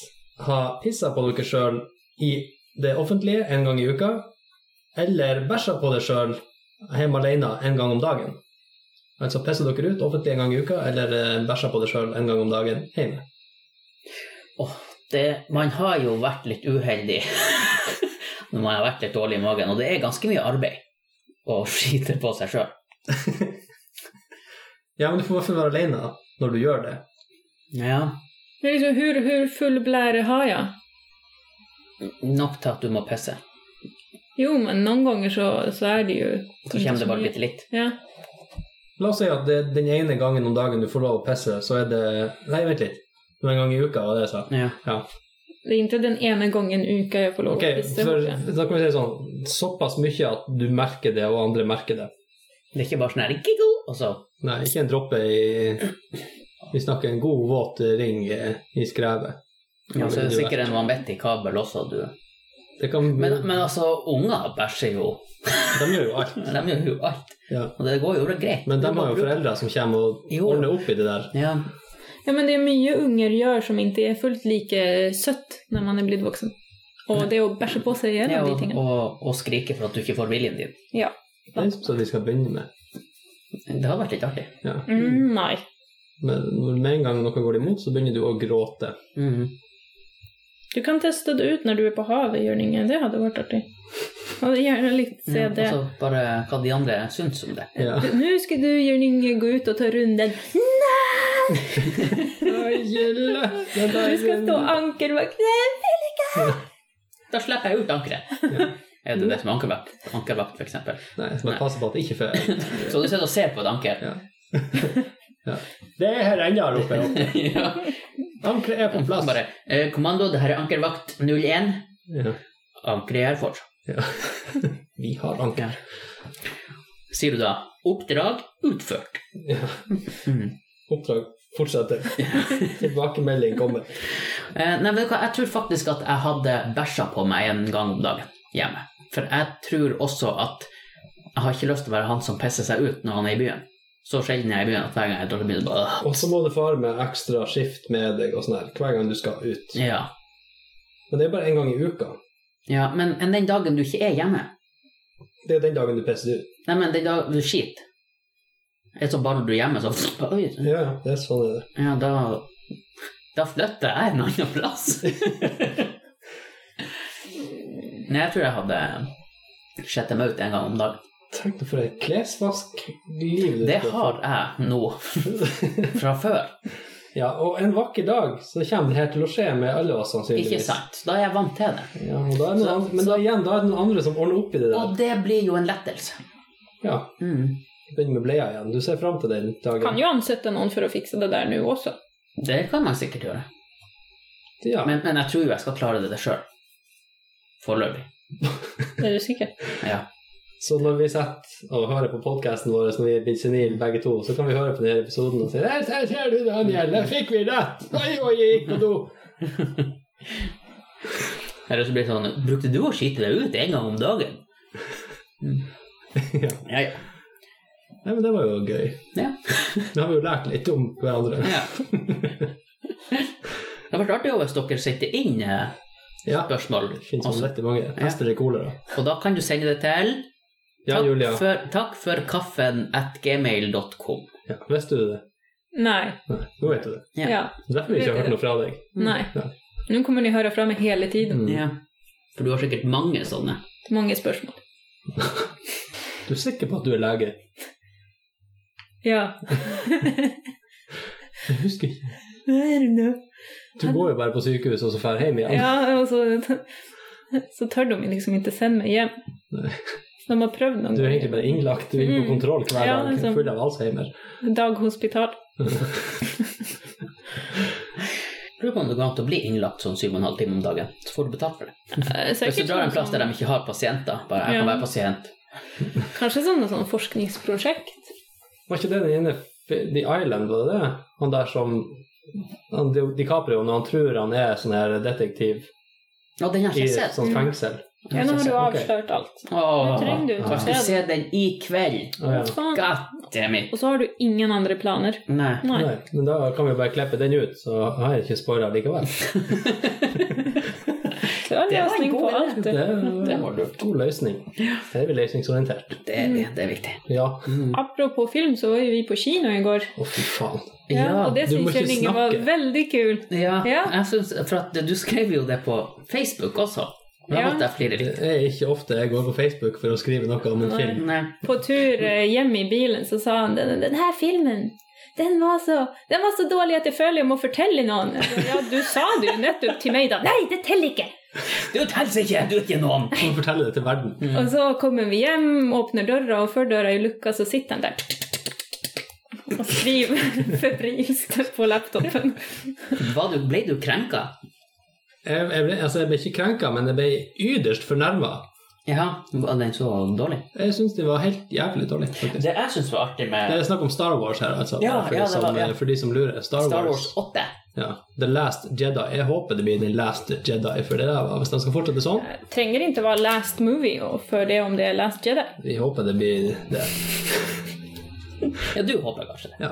B: ha pissa på dere sjøl i det offentlige en gang i uka, eller bæsja på dere sjøl hjemme alene en gang om dagen? Altså pisse dere ut offentlig en gang i uka, eller eh, bæsja på dere sjøl en gang om dagen hjemme?
A: Det, man har jo vært litt uheldig *laughs* når man har vært litt dårlig i magen, og det er ganske mye arbeid å *laughs* skite på seg sjøl.
B: Ja, men du får i hvert fall være alene når du gjør det.
A: Ja.
C: Det er liksom, hur, hur full blære har jeg?
A: Nok til at du må pisse.
C: Jo, men noen ganger så, så er det jo
A: Så kommer det bare bitte litt.
C: Ja.
B: La oss si at det, den ene gangen om dagen du får lov å pisse, så er det Nei, vent litt. Det var en gang i uka, var det jeg sa.
A: Ja.
B: Ja.
C: Det er ikke den ene gangen i uka jeg får lov
B: Ok,
C: å pisse.
B: for,
C: borte.
B: da kan vi si det sånn Såpass mye at du merker det, og andre merker det.
A: Det er ikke bare sånn her giggle, og så
B: Nei, ikke en dråpe i Vi snakker en god, våt ring eh, i skrevet.
A: ja, så er det
B: Du vet.
A: sikkert en vanvittig kabel også, du.
B: Det kan,
A: Men, men altså, unger bæsjer jo.
B: De gjør jo alt.
A: De gjør jo alt.
B: Ja.
A: Og det går jo greit.
B: Men de
A: Du må
B: har jo
A: bruke-
B: foreldre som kommer og
A: Jo.
B: ordner opp i det der.
A: Ja.
C: Ja, men det er mye unger gjør som ikke er fullt like søtt når man er blitt voksen. Og det å bæsje på seg er en
A: ja,
C: av de
A: og,
C: tingene.
A: og, og skrike for at du ikke får viljen din.
C: Ja.
B: Det er sånn vi skal begynne med.
A: Det hadde vært litt artig.
B: Ja.
C: Mm, nei.
B: Men når- med en gang noe går imot, så begynner du å gråte.
C: Du kan teste det ut når du er på havet, Jørninge. Det hadde vært artig. Jeg hadde gjerne likt se
A: Ja, altså,
C: det.
A: og så bare hva de andre syns om det.
B: Ja.
C: Du- Nå skal du, Jørninge, gå ut og ta runden.
B: *laughs*
C: Du skal stå ankervakt.
A: Da slipper jeg ut ankeret. *laughs* Er det det som er ankervakt? Ankervakt, for eksempel.
B: Nei, så bare passe på at det ikke får
A: Så du sitter og ser på et
B: *laughs*
A: anker.
B: Det er her ennå her oppe.
A: ja. *laughs*
B: Ankeret er på plass.
A: Bare, eh, kommando, det her er ankervakt 01.
B: Ja.
A: Ankeret er fortsatt.
B: *laughs* Vi har anker.
A: Ja. Sier du da 'oppdrag utført'?
B: Ja.
A: Mm.
B: Oppdrag
A: *laughs*
B: fortsetter. Tilbakemelding kommer.
A: Eh, nei, vet du hva, jeg tror faktisk at jeg hadde bæsja på meg en gang om dagen hjemme. For jeg tror også at jeg har ikke lyst til å være han som pisser seg ut når han er i byen. Så sjelden jeg er i byen at hver gang jeg drar til byen, bare øh.
B: Og så må du fare med ekstra skift med deg og sånn her, hver gang du skal ut.
A: ja.
B: Men det er bare en gang i uka.
A: ja. Men enn den dagen du ikke er hjemme
B: Det er den dagen du pisser ut.
A: Nei, men den dagen du skiter Er så bare du er hjemme, så Oi.
B: Ja, ja, det er sånn det er.
A: Ja, da Da flytter jeg en annen
B: *laughs*
A: plass. Nei, jeg tror jeg hadde sjett dem ut en gang om dagen.
B: Tenk deg for et klesvaskliv du
A: Det
B: skal
A: har jeg nå fra før.
B: *laughs* Ja, og en vakker dag så kommer det her til å skje med alle oss sannsynligvis.
A: Ikke sant? Da er jeg vant til det.
B: Ja, og da er det noen
A: Så-
B: andre, men da igjen, da er det noen andre som ordner opp i det der.
A: Og det blir jo en lettelse.
B: Ja,
A: Mm.
B: begynn med bleia igjen. Du ser fram til den dagen.
C: Kan jo ansette noen for å fikse det der nå også.
A: Det kan man sikkert gjøre.
B: Ja.
A: Men, men jeg tror jo jeg skal klare det sjøl. Foreløpig.
C: Er du sikker?
A: Ja.
B: Så når vi sitter og hører på podkasten vår når vi er blitt senile begge to, så kan vi høre på denne episoden og si Der ser- ser du, Daniel, der fikk vi rett! Oi, oi, jeg gikk på do!
A: Eller så blir
B: *laughs*
A: det sånn Brukte du å skite deg ut en gang om dagen? Mm.
B: Ja.
A: Ja, ja.
B: Ja, men det var jo gøy. *laughs*
A: Ja.
B: Nå har vi jo lært litt om hverandre.
C: *laughs*
A: Ja. Det hadde vært artig hvis dere sitter inn eh,
B: Ja, det
A: spørsmål.
B: finnes jo
A: Også.
B: veldig mange hester i kolera.
A: Og da kan du sende det til
B: Ja,
A: takk,
B: Julia,
A: for, takk for kaffen at gmail.com.
B: ja, visste du det?
C: Nei.
B: Nei, nå vet du det.
A: Ja.
C: Ja.
B: Det er Derfor vi ikke har hørt noe fra deg.
C: Nei.
B: Ja.
C: Nå kommer ni höra fra meg hele tiden.
B: Mm.
A: Ja. For du har sikkert mange sånne.
C: Mange spørsmål.
B: Du er sikker på at du er lege?
C: Ja.
B: Jeg husker ikke.
C: Nei,
B: Du går jo bare på sykehus og så drar hjem igjen.
C: Ja, og så, så tør de liksom ikke sende meg hjem.
B: Nei.
C: De har prøvd noen
B: Du er egentlig bare innlagt, du er inne på
C: Mm.
B: kontroll hver
C: Ja,
B: dag,
C: liksom.
B: full av alzheimer.
C: ganger. Daghospital.
A: Lurer på om det går an til å bli innlagt sånn 7,5 timer om dagen, så får du betalt for det.
C: Eh,
A: Hvis du
C: Sikkert
A: drar en plass der
C: sånn,
A: de ikke har pasienter, bare 'jeg kan
C: Ja.
A: være pasient'.
C: kanskje sånn sånn forskningsprosjekt.
B: Var ikke det den ene The Island, var det det? Han der som han, Di- DiCaprio, når han tror han er sånn her detektiv
A: Å, den har jeg
B: i
A: ikke
B: et
A: sett.
B: sånt
C: Mm.
B: fengsel.
C: Ja, nå har du
B: Ok.
C: avslørt alt. Nå
A: Åh,
C: trenger du
B: ja.
C: ikke
A: jeg skal
C: se det.
A: se den i kveld.
B: Å, ja.
C: Faen.
A: God damn it.
C: Og så har du ingen andre planer.
A: Nei.
C: *laughs* Nei.
B: Nei, men da kan vi bare klippe den ut, så har jeg ikke spoila likevel.
C: Det var en
A: *laughs* Det var en
C: løsning
A: god
C: på
A: idé.
C: alt.
B: Det er
A: Det
B: en
A: var lurt.
B: god løsning. Det er vi løsningsorientert.
A: Det er, det, det er viktig. Mm.
B: Ja.
C: Apropos film, så var jo vi på kino i går.
B: Å, fy faen.
C: Ja, og det
B: du må
C: syns
B: ikke
C: Kjell Inge var
B: snakke.
C: veldig kul.
A: Ja,
C: Ja.
A: jeg synes, for at du skrev jo det på Facebook også. Jeg
C: Ja.
A: måtte jeg flire
B: Det
A: litt.
B: er ikke ofte jeg går på Facebook for å skrive noe om en
C: Nei.
B: film.
A: Nei.
C: På tur eh, hjem i bilen så sa han den, den her filmen den var, så, den var så dårlig at jeg føler jeg må fortelle noen. Jeg sa, Ja, du sa det jo nettopp til meg, da. Nei, det teller ikke!
A: Du teller ikke! Du er ikke noen!
B: *laughs* Du må fortelle det til verden.
C: Og så kommer vi hjem, åpner døra, og før døra er lukka, så sitter han der og skriver *laughs* febrilsk på laptopen.
A: Var du, ble du krenka?
B: Jeg, jeg, ble, altså, jeg ble ikke krenka, men jeg ble yderst fornærma.
A: Ja, var den så dårlig?
B: Jeg syns det var helt jævlig dårlig, faktisk.
A: Det jeg syns var artig
B: Det
A: med
B: er snakk om Star Wars her, altså.
A: Ja,
B: for,
A: ja,
B: de
A: det
B: som,
A: var det.
B: for de som lurer. Star,
A: Star
B: Wars.
A: Wars 8
B: Ja. The Last Jedi. Jeg håper det blir The Last Jedi, for det der, var- hvis de skal fortsette sånn
C: Trenger ikke være last movie og før det om det er last Jedi.
B: Vi håper det blir det.
A: Ja, du håper kanskje det.
B: Ja.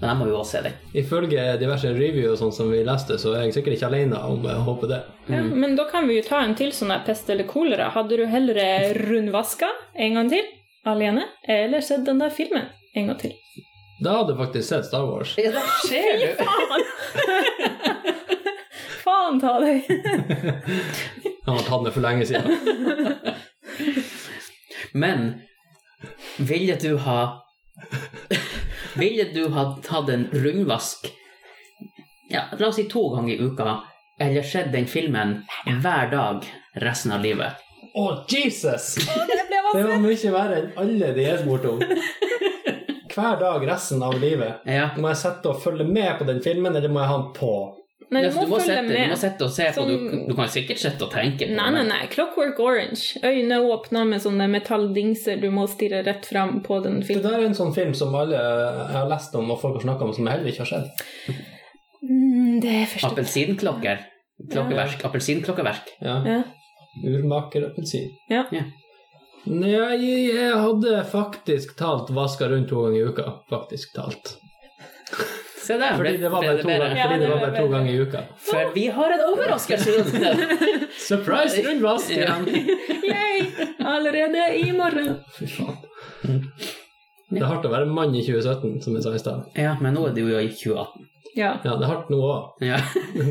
A: Men jeg må jo også se den.
B: Ifølge diverse review og sånn som vi leste, så er jeg sikkert ikke alene om å håpe det.
C: Ja,
A: Mm.
C: men da kan vi jo ta en til sånn her pest eller kolera. Hadde du hellre rundvaska en gang til alene, eller sett den der filmen en gang til?
B: Da hadde jeg faktisk sett Star Wars.
A: Ja, der ser du!
C: Faen! *laughs* Faen ta deg!
B: Han har tatt med for lenge siden.
A: Men ville du ha Ville du ha tatt en rundvask ja, La oss si to ganger i uka, eller sett den filmen hver dag resten av livet?
B: *laughs* Å, Jesus!
C: Det ble
B: Det var mye verre enn alle de er borte om. Hver dag resten av livet.
A: Ja.
B: Må jeg sette og følge med på den filmen, eller må jeg ha den på?
C: Nei,
A: Du
C: du må,
A: må
C: følge
A: sitte du må
C: med.
A: sitte og se på,
C: Som-
A: du, du kan sikkert sitte og tenke på
C: Nei, nei, nei. Clockwork Orange. Øyne åpna med sånne metalldingser. Du må stirre rett fram på den
B: Det
C: filmen.
B: der er en sånn film som alle jeg har lest om, og folk har snakket om, som jeg heller ikke har sett.
C: Mm, det er
A: men
C: første
A: Appelsinklokker. Klokkeverk. Appelsinklokkeverk.
B: Ja.
C: ja.
B: Urmakerappelsin.
C: Ja.
A: Ja.
B: Nei, jeg hadde faktisk talt vaska rundt to ganger i uka. Faktisk talt.
A: Se der.
B: Fordi det var
A: ble- ble
B: bare to,
A: det bedre?
B: ganger-
C: Ja,
B: fordi det
C: det
B: var
C: ble
B: bare to
C: bedre.
B: ganger i uka.
A: For vi har en
B: *laughs*
A: overraskelse!
B: Surprise rundvask!
A: Ja.
C: Yay! Allerede i morgen.
B: Fy faen. Det er hardt å være mann i 2017, som jeg sa i stad.
A: ja, men nå er det jo i 2018.
C: Ja.
B: Ja, det er hardt nå òg.
A: Ja,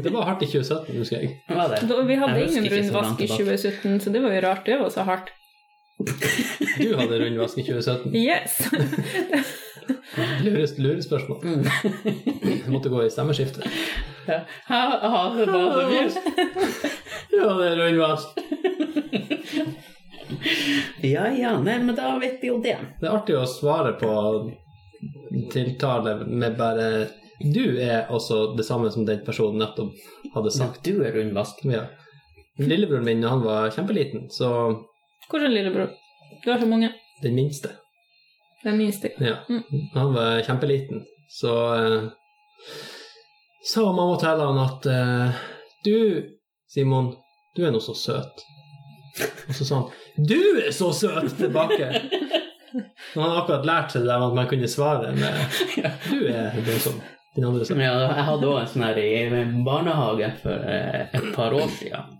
B: Det var hardt i 2017, husker jeg.
A: hva var det?
C: Da, vi hadde
A: Jeg husker
C: ingen
A: ikke så langt
C: rundvask i
A: tilbake.
C: 2017, så det var jo rart. Det var så hardt.
B: Du hadde rundvask i 2017.
C: Yes!
B: Lurest lurespørsmål.
A: Mm.
B: Jeg måtte gå i stemmeskiftet.
A: Ja, ja, det var det
B: *laughs*
A: vi-
B: Du hadde rundvask.
A: Ja, ja, nei, men da vet vi jo det.
B: Det er artig å svare på tiltale med bare Du er også det samme som den personen nettopp hadde sagt.
A: Sagt du er rundvask.
B: Ja. Lillebroren min han var kjempeliten, så
C: Hvordan, lillebror? Du har så mange.
B: den minste.
C: Den minste.
B: Ja.
C: Mm.
B: Han var kjempeliten, så eh, sa mamma til han at eh, Du, Simon, du er nå så søt. Og så sa han Du er så søt tilbake! Når han akkurat lærte seg det der med at man kunne svare med
A: Ja.
B: Du er dødsom. Din andre sa.
A: Ja, jeg hadde òg en sånn her i barnehagen for eh, et par år siden.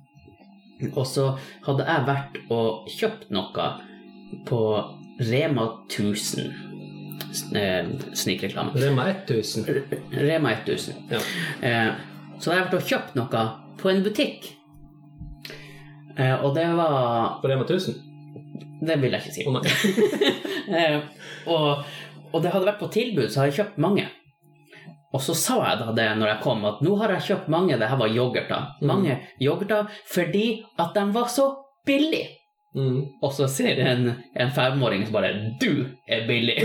A: Og så hadde jeg vært og kjøpt noe på Rema 1000 s- eh, snikreklame.
B: Rema 1000.
A: Rema 1000.
B: Ja.
A: Eh, Så hadde jeg vært og kjøpt noe på en butikk. Eh, Og det var
B: På Rema 1000?
A: Det vil jeg ikke si.
B: Å nei.
A: *laughs* Eh, og, og det hadde vært på tilbud, så har jeg kjøpt mange. Og så sa jeg da det når jeg kom, at nå har jeg kjøpt mange, det her var yoghurter.
B: Mm.
A: Mange yoghurter fordi at de var så billig.
B: Mm.
A: Og så ser jeg en, en femåring som bare Du er billig!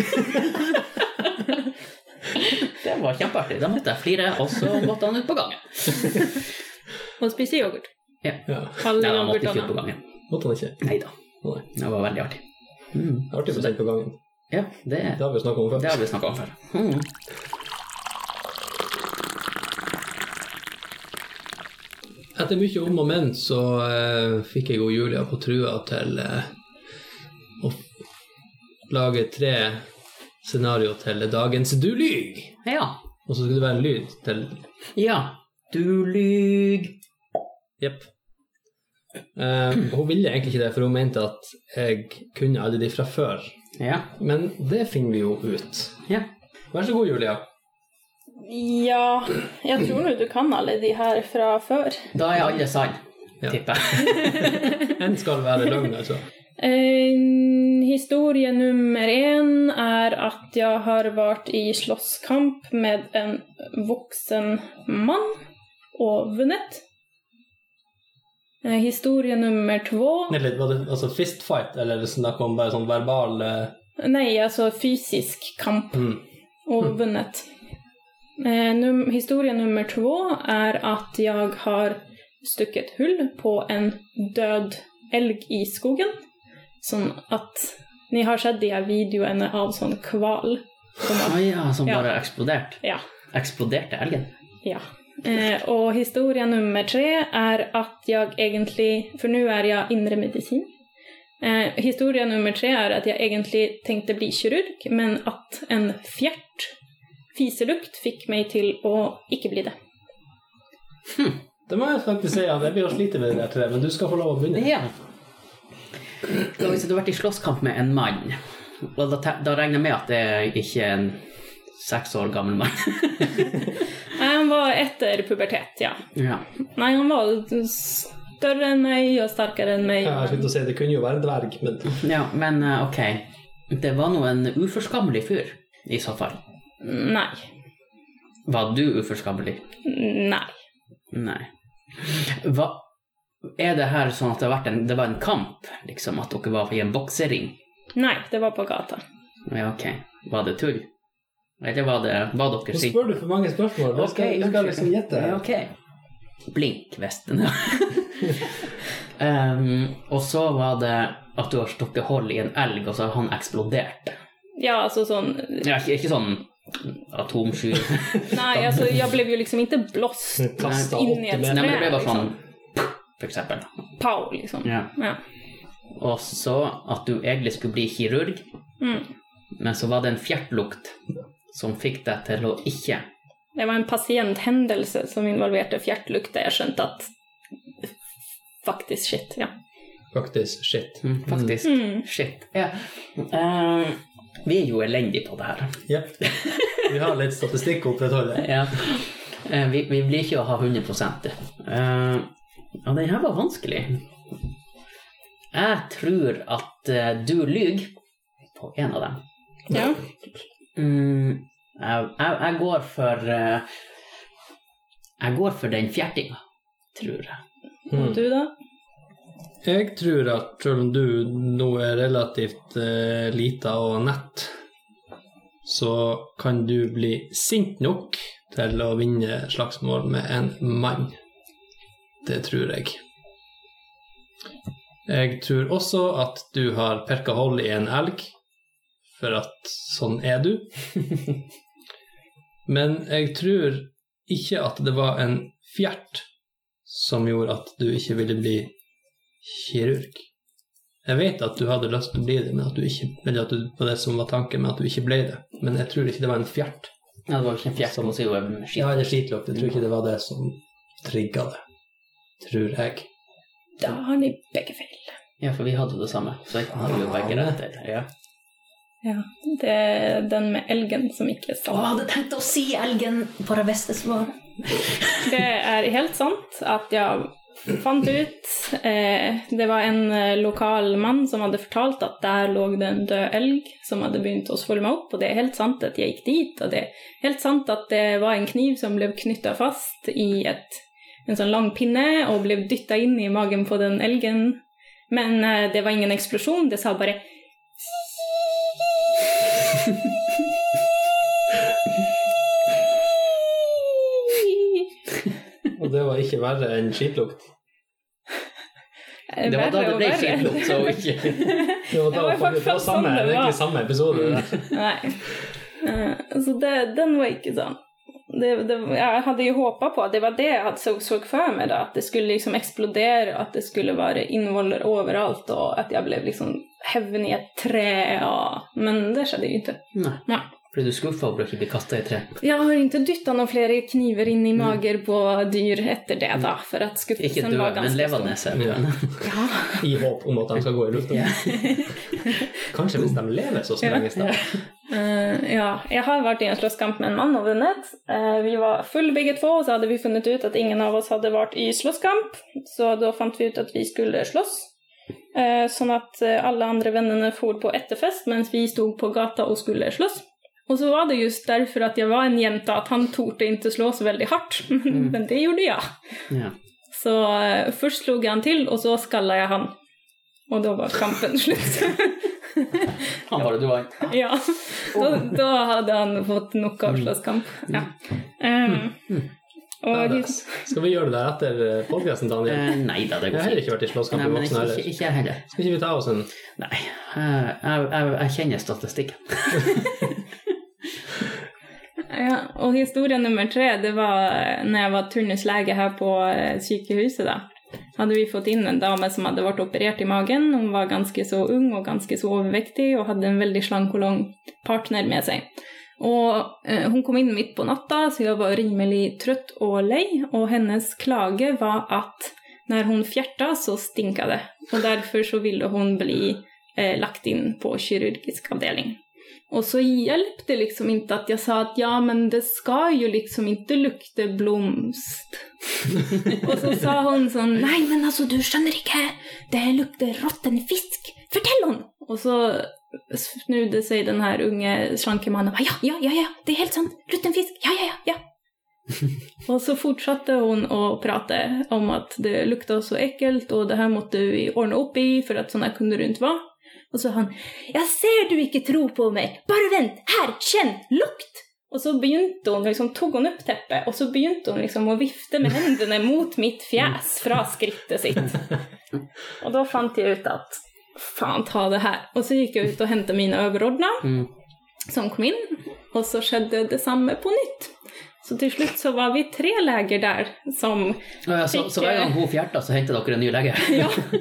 A: *laughs* det var kjempeartig. Da måtte jeg flire, og så måtte han ut på gangen.
C: Man spiser yoghurt.
B: Ja.
C: Alle
A: Nei, han måtte ikke ut på
C: yoghurtene.
A: gangen.
B: Måtte han ikke.
A: Nei da.
B: Nei.
A: Det var veldig artig. Mm.
B: Artig prosent på gangen.
A: Ja, det,
B: Det har vi snakket om
A: det har
B: før.
A: vi snakka om før. Mm.
B: Etter mye om og men så eh, fikk jeg og Julia på trua til eh, å f- lage tre scenario til dagens Du lyg!
A: Ja.
B: Og så skulle det være en lyd til
A: Ja. Du lyg.
B: Jepp. Eh, hun ville egentlig ikke det, for hun mente at jeg kunne alle de fra før.
A: Ja.
B: Men det finner vi jo ut.
A: ja.
B: Vær så god, Julia.
C: Ja, jeg tror nå du kan alle de her fra før.
A: Da er alle sann,
B: Ja.
A: tipper *laughs* jeg.
B: En skal være løgn, altså.
C: Eh, historie nummer én er at jeg har vært i slåsskamp med en voksen mann og vunnet. Eh, historie nummer to
B: Vent litt, var det altså fistfight, eller snakk om bare sånn verbal eh,
C: Nei, altså fysisk kamp.
B: mm.
C: og vunnet. Eh, num historie nummer to er at jeg har stukket hull på en død elg i skogen. Sånn at Ni har sett de her videoene av sånn hval.
A: Å Ah, ja, som
C: Ja.
A: bare eksploderte.
C: Ja.
A: Eksploderte elgen.
C: Ja. Eh, og historie nummer tre er at jeg egentlig For nå er jeg indremedisin. Eh, historie nummer tre er at jeg egentlig tenkte bli kirurg, men at en fjert fiselukt fikk meg til å ikke bli det.
B: Det må jeg faktisk si, ja. Jeg blir å slite med det der tre, men du skal få lov å begynne.
A: Ja. Da hvis du har vært i slåsskamp med en mann, og da, te- da regner jeg med at det er ikke en seks år gammel mann. *laughs*
C: Nei, Han var etter pubertet, ja.
A: Ja.
C: Nei, han var større enn meg og sterkere enn meg.
B: Ja, jeg skulle til å si, det kunne jo være en dverg, men
A: ja, men eh, ok. Det var nå en uforskammelig fyr, i så fall.
C: Nei.
A: Var du uforskammelig?
C: Nei.
A: Nei. Hva Er det her sånn at det, har vært en, det var en kamp, liksom? At dere var i en boksering?
C: Nei, det var på gata.
A: Ja, ok. Var det tull? Eller var det Var dere
B: nå
A: sinte?
B: spør du for mange spørsmål. Vi skal, vi skal liksom gjette.
A: Ja,
B: her.
A: ok. Blink, vesten.
B: *laughs*
A: um, og så var det at du har stukket hold i en elg, og så har han eksplodert.
C: Ja, altså sånn
A: Ja, ikke, ikke sånn
B: *laughs*
A: atomsky.
C: Nei, altså, jeg ble jo liksom ikke blåst
B: Kastet
C: Inn i
B: åtte
C: et
A: Nei,
B: meter.
A: men det ble bare sånn
B: liksom.
A: For eksempel.
C: pow, liksom.
A: Ja.
C: Ja.
A: Og så at du egentlig skulle bli kirurg,
C: Mm.
A: men så var det en fjertlukt som fikk deg til å ikke
C: Det var en pasienthendelse som involverte fjertlukt, der jeg skjønte at Faktisk shit, ja.
B: Faktisk shit.
A: Faktisk.
C: Mm.
A: Shit. Ja. Eh, vi er jo elendige på det her.
B: Jepp. Vi har litt statistikk å opprettholde.
A: Ja. Eh, vi, vi blir ikke å ha 100 uh, Og den her var vanskelig. Jeg tror at eh, du lyver på en av dem.
C: ja.
A: Mm, jeg, jeg, jeg går for eh, Jeg går for den fjertinga, tror jeg.
B: Mm.
C: Og du, da?
B: Jeg tror at selv om du nå er relativt eh, lita og nett, så kan du bli sint nok til å vinne slagsmål med en mann. Det tror jeg. Jeg tror også at du har perka hold i en elg, for at sånn er du. Men jeg tror ikke at det var en fjert som gjorde at du ikke ville bli kirurg. Jeg vet at du hadde lyst til å bli det, men at du ikke, eller at du, det var det som var tanken, men at du ikke ble det. Men jeg tror ikke det var en fjert.
A: Ja, det var ikke en fjert som å si skitt.
B: Ja, eller skitløp. Jeg tror ikke det var det som trigga det. Tror jeg.
C: Da har ni begge feil.
A: Ja, for vi hadde det samme. Så jeg hadde
B: Ah,
A: jo begge retter. Ja.
C: Det er den med elgen som ikke
A: Å,
C: er
A: jeg
C: sann.
A: hadde tenkt å si elgen på det beste svaret.
C: Det er helt sant at jeg fant ut eh, Det var en eh, lokal mann som hadde fortalt at der lå det en død elg som hadde begynt å svulme opp, og det er helt sant at jeg gikk dit, og det er helt sant at det var en kniv som ble knytta fast i et, en sånn lang pinne og ble dytta inn i magen på den elgen, men eh, det var ingen eksplosjon, det sa bare *laughs*
B: Og det var ikke verre enn skitlukt.
C: eh,
A: Det var da
C: verre
A: det
C: og
A: ble
C: verre.
A: skitlukt, så ikke
B: Det var,
C: Det
B: da,
C: var
B: faktisk, det var
C: faktisk
B: samme,
C: sånn det var.
B: egentlig samme episode. det der.
C: *laughs* Nei. Eh, Så det, den var ikke sånn. Det, det, jeg hadde jo håpa på Det var det jeg hadde så, så for meg, da. At det skulle liksom eksplodere, og at det skulle være innvoller overalt, og at jeg ble liksom hevnet i et tre. Og... Men det skjedde jo ikke.
A: Nei.
C: Nei.
A: Ble du skuffa over å ikke bli kasta i tre?
C: Jeg har ikke dytta noen flere kniver inn i mager på dyr etter det, da. For at
A: Mm. Ikke
C: skuffelsen
A: død,
C: var
A: men
C: ganske
A: levende. ser du.
B: Ja.
C: Ja.
B: I håp om at de skal gå i luften.
A: Ja.
B: Kanskje hvis de lever så
C: Ja.
B: lenge snart.
C: Eh, ja, jeg har vært i en slåsskamp med en mann og vunnet. Eh, vi var full begge to, og så hadde vi funnet ut at ingen av oss hadde vært i slåsskamp. Så da fant vi ut at vi skulle slåss. Eh, sånn at eh, alle andre vennene for på etterfest, mens vi sto på gata og skulle slåss. Og så var det just derfor at jeg var en jente, at han torde ikke slå så veldig hardt. *laughs*
A: Mm.
C: Men det gjorde jeg.
A: *laughs* Ja.
C: Så eh, først slo jeg han til, og så skalla jeg han. Og da var kampen slutt. *laughs*
A: Han bare du vant.
C: Ja, da, da hadde han fått nok av slåsskamp. Ja. Ehm, og
B: Badass. Skal vi gjøre det der etter podkasten, Daniel?
A: Eh, nei da, det
B: Jeg
A: går
B: har heller
A: fint.
B: ikke vært i slåsskamp
A: Nei,
B: i
A: men
B: voksen
A: ikke, ikke,
B: alder.
A: ikke jeg heller.
B: Skal ikke vi ta oss en
A: Nei. eh, Jeg, jeg, jeg kjenner statistikken.
C: ja, og historie nummer tre, det var eh, når jeg var turnuslege her på eh, sykehuset. da. Hadde vi fått inn en dame som hadde vært operert i magen. Hun var ganske så ung og ganske så overvektig og hadde en veldig slank og lang partner med seg. Og eh, hun kom inn midt på natta, så jeg var rimelig trøtt og lei. Og hennes klage var at når hun fjerta, så stinka det. Og derfor så ville hun bli eh, lagt inn på kirurgisk avdeling. Og så hjalp det liksom ikke at jeg sa at ja, men det skal jo liksom ikke lukte blomst. *laughs* og så sa hun sånn nei, men altså, du skjønner ikke, det lukter råtten fisk. Fortell hun! Og så snudde seg den her unge slanke mannen og ba ja, ja, ja, ja, det er helt sant, råtten fisk, ja, ja, ja. ja. og så fortsatte hun å prate om at det lukta så ekkelt, og det her måtte vi ordne opp i, for at sånn her kunne det ikke være. Og så han Jeg ser du ikke tror på meg! Bare vent! Her! Kjenn! Lukt! Og så begynte hun liksom, tok hun opp teppet, og så begynte hun liksom å vifte med hendene mot mitt fjes fra skrittet sitt. Og da fant jeg ut at faen ta det her. Og så gikk jeg ut og hentet mine overordna,
A: Mm.
C: som kom inn, og så skjedde det samme på nytt. Så til slutt så var vi tre leger der som
A: Og ja, Eh, Så, så hver gang hun fjerta, så henter dere en ny
C: *laughs*
A: lege. Mm.
C: Ja.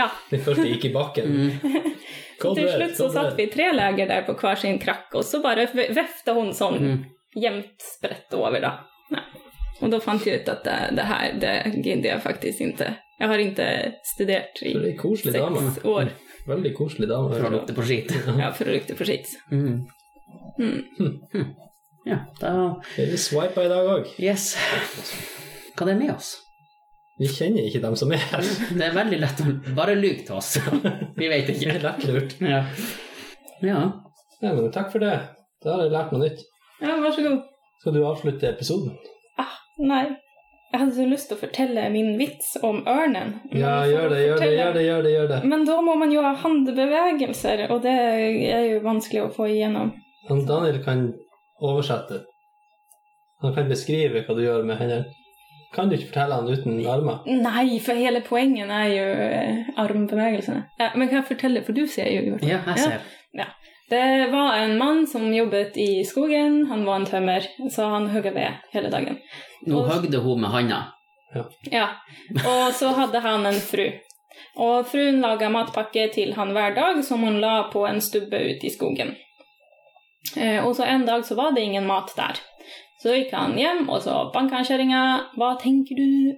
C: ja.
B: Den første gikk i bakken.
C: Så Mm. til slutt så satt vi tre leger der på hver sin krakk, og så bare ve- vefta hun sånn
A: Mm.
C: jevnt spredt over, da. Ja. Og da fant jeg ut at det, det her, det gidder jeg faktisk ikke. Jeg har ikke studert i
B: Så det er en koselig dame.
C: seks år
B: Veldig koselig dame.
A: For å lukte på skit.
C: ja, for å lukte på skitt.
A: Mm. Hm.
C: Mm.
A: Ja, da
B: Vi swipa i dag òg.
A: Yes. Hva det er med oss?
B: Vi kjenner ikke dem som er *laughs* her.
A: Det er veldig lett å Bare lyg til oss. Vi vet
B: Det
A: ikke.
B: er lettlurt.
A: Ja. ja.
B: Nei, men takk for det. Da har jeg lært noe nytt.
C: Ja, vær så god.
B: Skal du avslutte episoden?
C: Ah, nei. Jeg hadde så lyst til å fortelle min vits om ørnen. Men
B: Ja, Mm.
C: jeg får
B: gjør det, gjør det,
C: fortelle-
B: gjør det. gjør det, gjør det.
C: Men da må man jo ha håndbevegelser, og det er jo vanskelig å få igjennom.
B: Han Daniel kan oversette. Han kan beskrive hva du gjør med hendene. Kan du ikke fortelle han uten armer?
C: Nei, for hele poengen er jo eh, armbevegelsene. Ja, men kan jeg fortelle, for du ser jo gjort.
A: ja, jeg ser.
C: Det var en mann som jobbet i skogen. Han var en tømmer, så han hugger ved hele dagen.
A: Nå høgde hun med handa.
C: Ja, Og så hadde han en fru. Og fruen laga matpakke til han hver dag, som hun la på en stubbe ute i skogen. Eh, Og så en dag så var det ingen mat der. Så gikk han hjem, og så banka han kjerringa. Hva tenker du?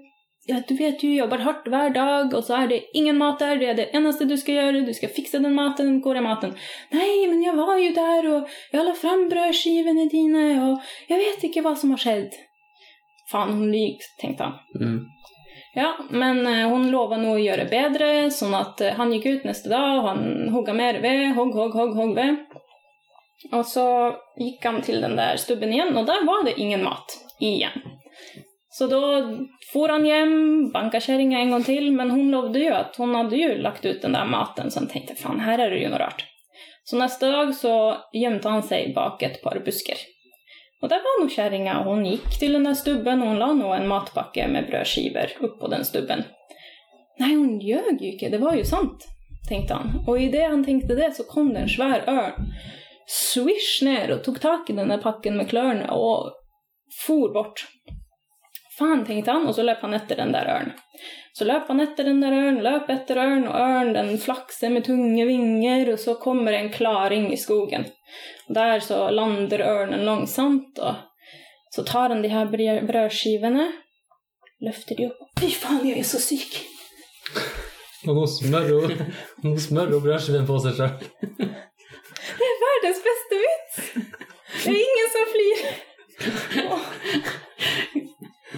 C: Ja, du vet du jobber hardt hver dag, og så er det ingen mat der. Det er det eneste du skal gjøre. Du skal fikse den maten. Hvor er maten? Nei, men jeg var jo der, og jeg la fram brødskivene dine, og jeg vet ikke hva som har skjedd. Faen, hun lyver, tenkte han.
A: Mm.
C: Ja, men eh, hun lova nå å gjøre bedre, sånn at eh, han gikk ut neste dag, og han hogga mer ved, hogg, hogg, hogg, hogg ved. Og så gikk han til den der stubben igjen, og der var det ingen mat igjen. Så da for han hjem, banka kjerringa en gang til, men hun lovde jo at hun hadde jo lagt ut den der maten, så han tenkte faen, her er det jo noe rart. Så neste dag så gjemte han seg bak et par busker. Og der var nå kjerringa. Hun gikk til den der stubben, og hun la nå en matpakke med brødskiver oppå den stubben. Nei, hun ljög jo ikke, det var jo sant, tenkte han. Og idet han tenkte det, så kom det en svær ørn. Svisj ned og tok tak i denne pakken med klørne og for bort. Faen, tenkte han, og så løp han etter den der ørnen. Så løp han etter den der ørnen, løp etter ørnen, og ørnen den flakser med tunge vinger, og så kommer en klaring i skogen. Og Der så lander ørnen langsomt, og så tar han de her brø- brødskivene, løfter de opp. Fy faen, jeg er så syk!
B: Og nå smører hun, *laughs* nå smører hun brødskiven på seg sjøl.
C: Verdens beste vits! Det er ingen som flirer. Åh,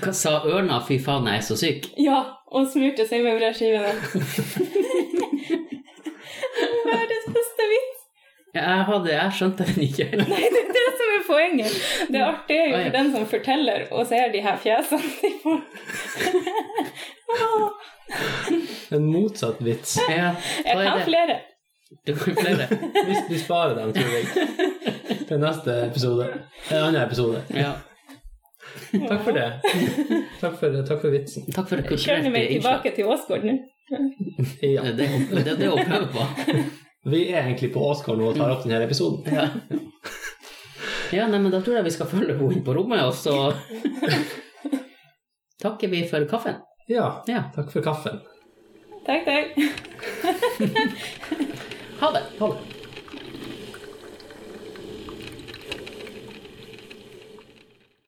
A: Hva sa ørna? Fy faen, jeg er så syk.
C: Ja, og smurte seg med brødskivene. *laughs* Verdens beste vits!
A: Jeg, hadde, jeg skjønte den
C: *laughs*
A: ikke.
C: Nei, det er det som er poenget. Det artige er
A: Ah,
C: jo
A: ja.
C: for den som forteller og ser de her fjesene *laughs* til folk. Åh,
B: En motsatt vits.
A: Ja,
C: Jeg
A: hva er
C: kan
A: det?
C: flere.
A: Du kan flere.
B: Vi, vi sparer dem, tror *laughs* jeg. Til neste episode. En annen episode.
A: Ja.
B: Takk for det. Takk for, takk for vitsen.
A: Takk for det
C: Kjører
A: kulturelle Eh,
C: meg tilbake til Åsgård nå.
B: Ja.
A: Det, det, det er det å prøve på.
B: Vi er egentlig på Åsgård nå og tar opp denne episoden.
A: Ja. ja, nei, men da tror jeg vi skal følge henne inn på rommet, og
C: *laughs*
A: så takker vi for kaffen.
B: Ja.
A: Ja.
B: Takk for kaffen.
C: Takk, takk.
A: Ha det.
B: Ha det.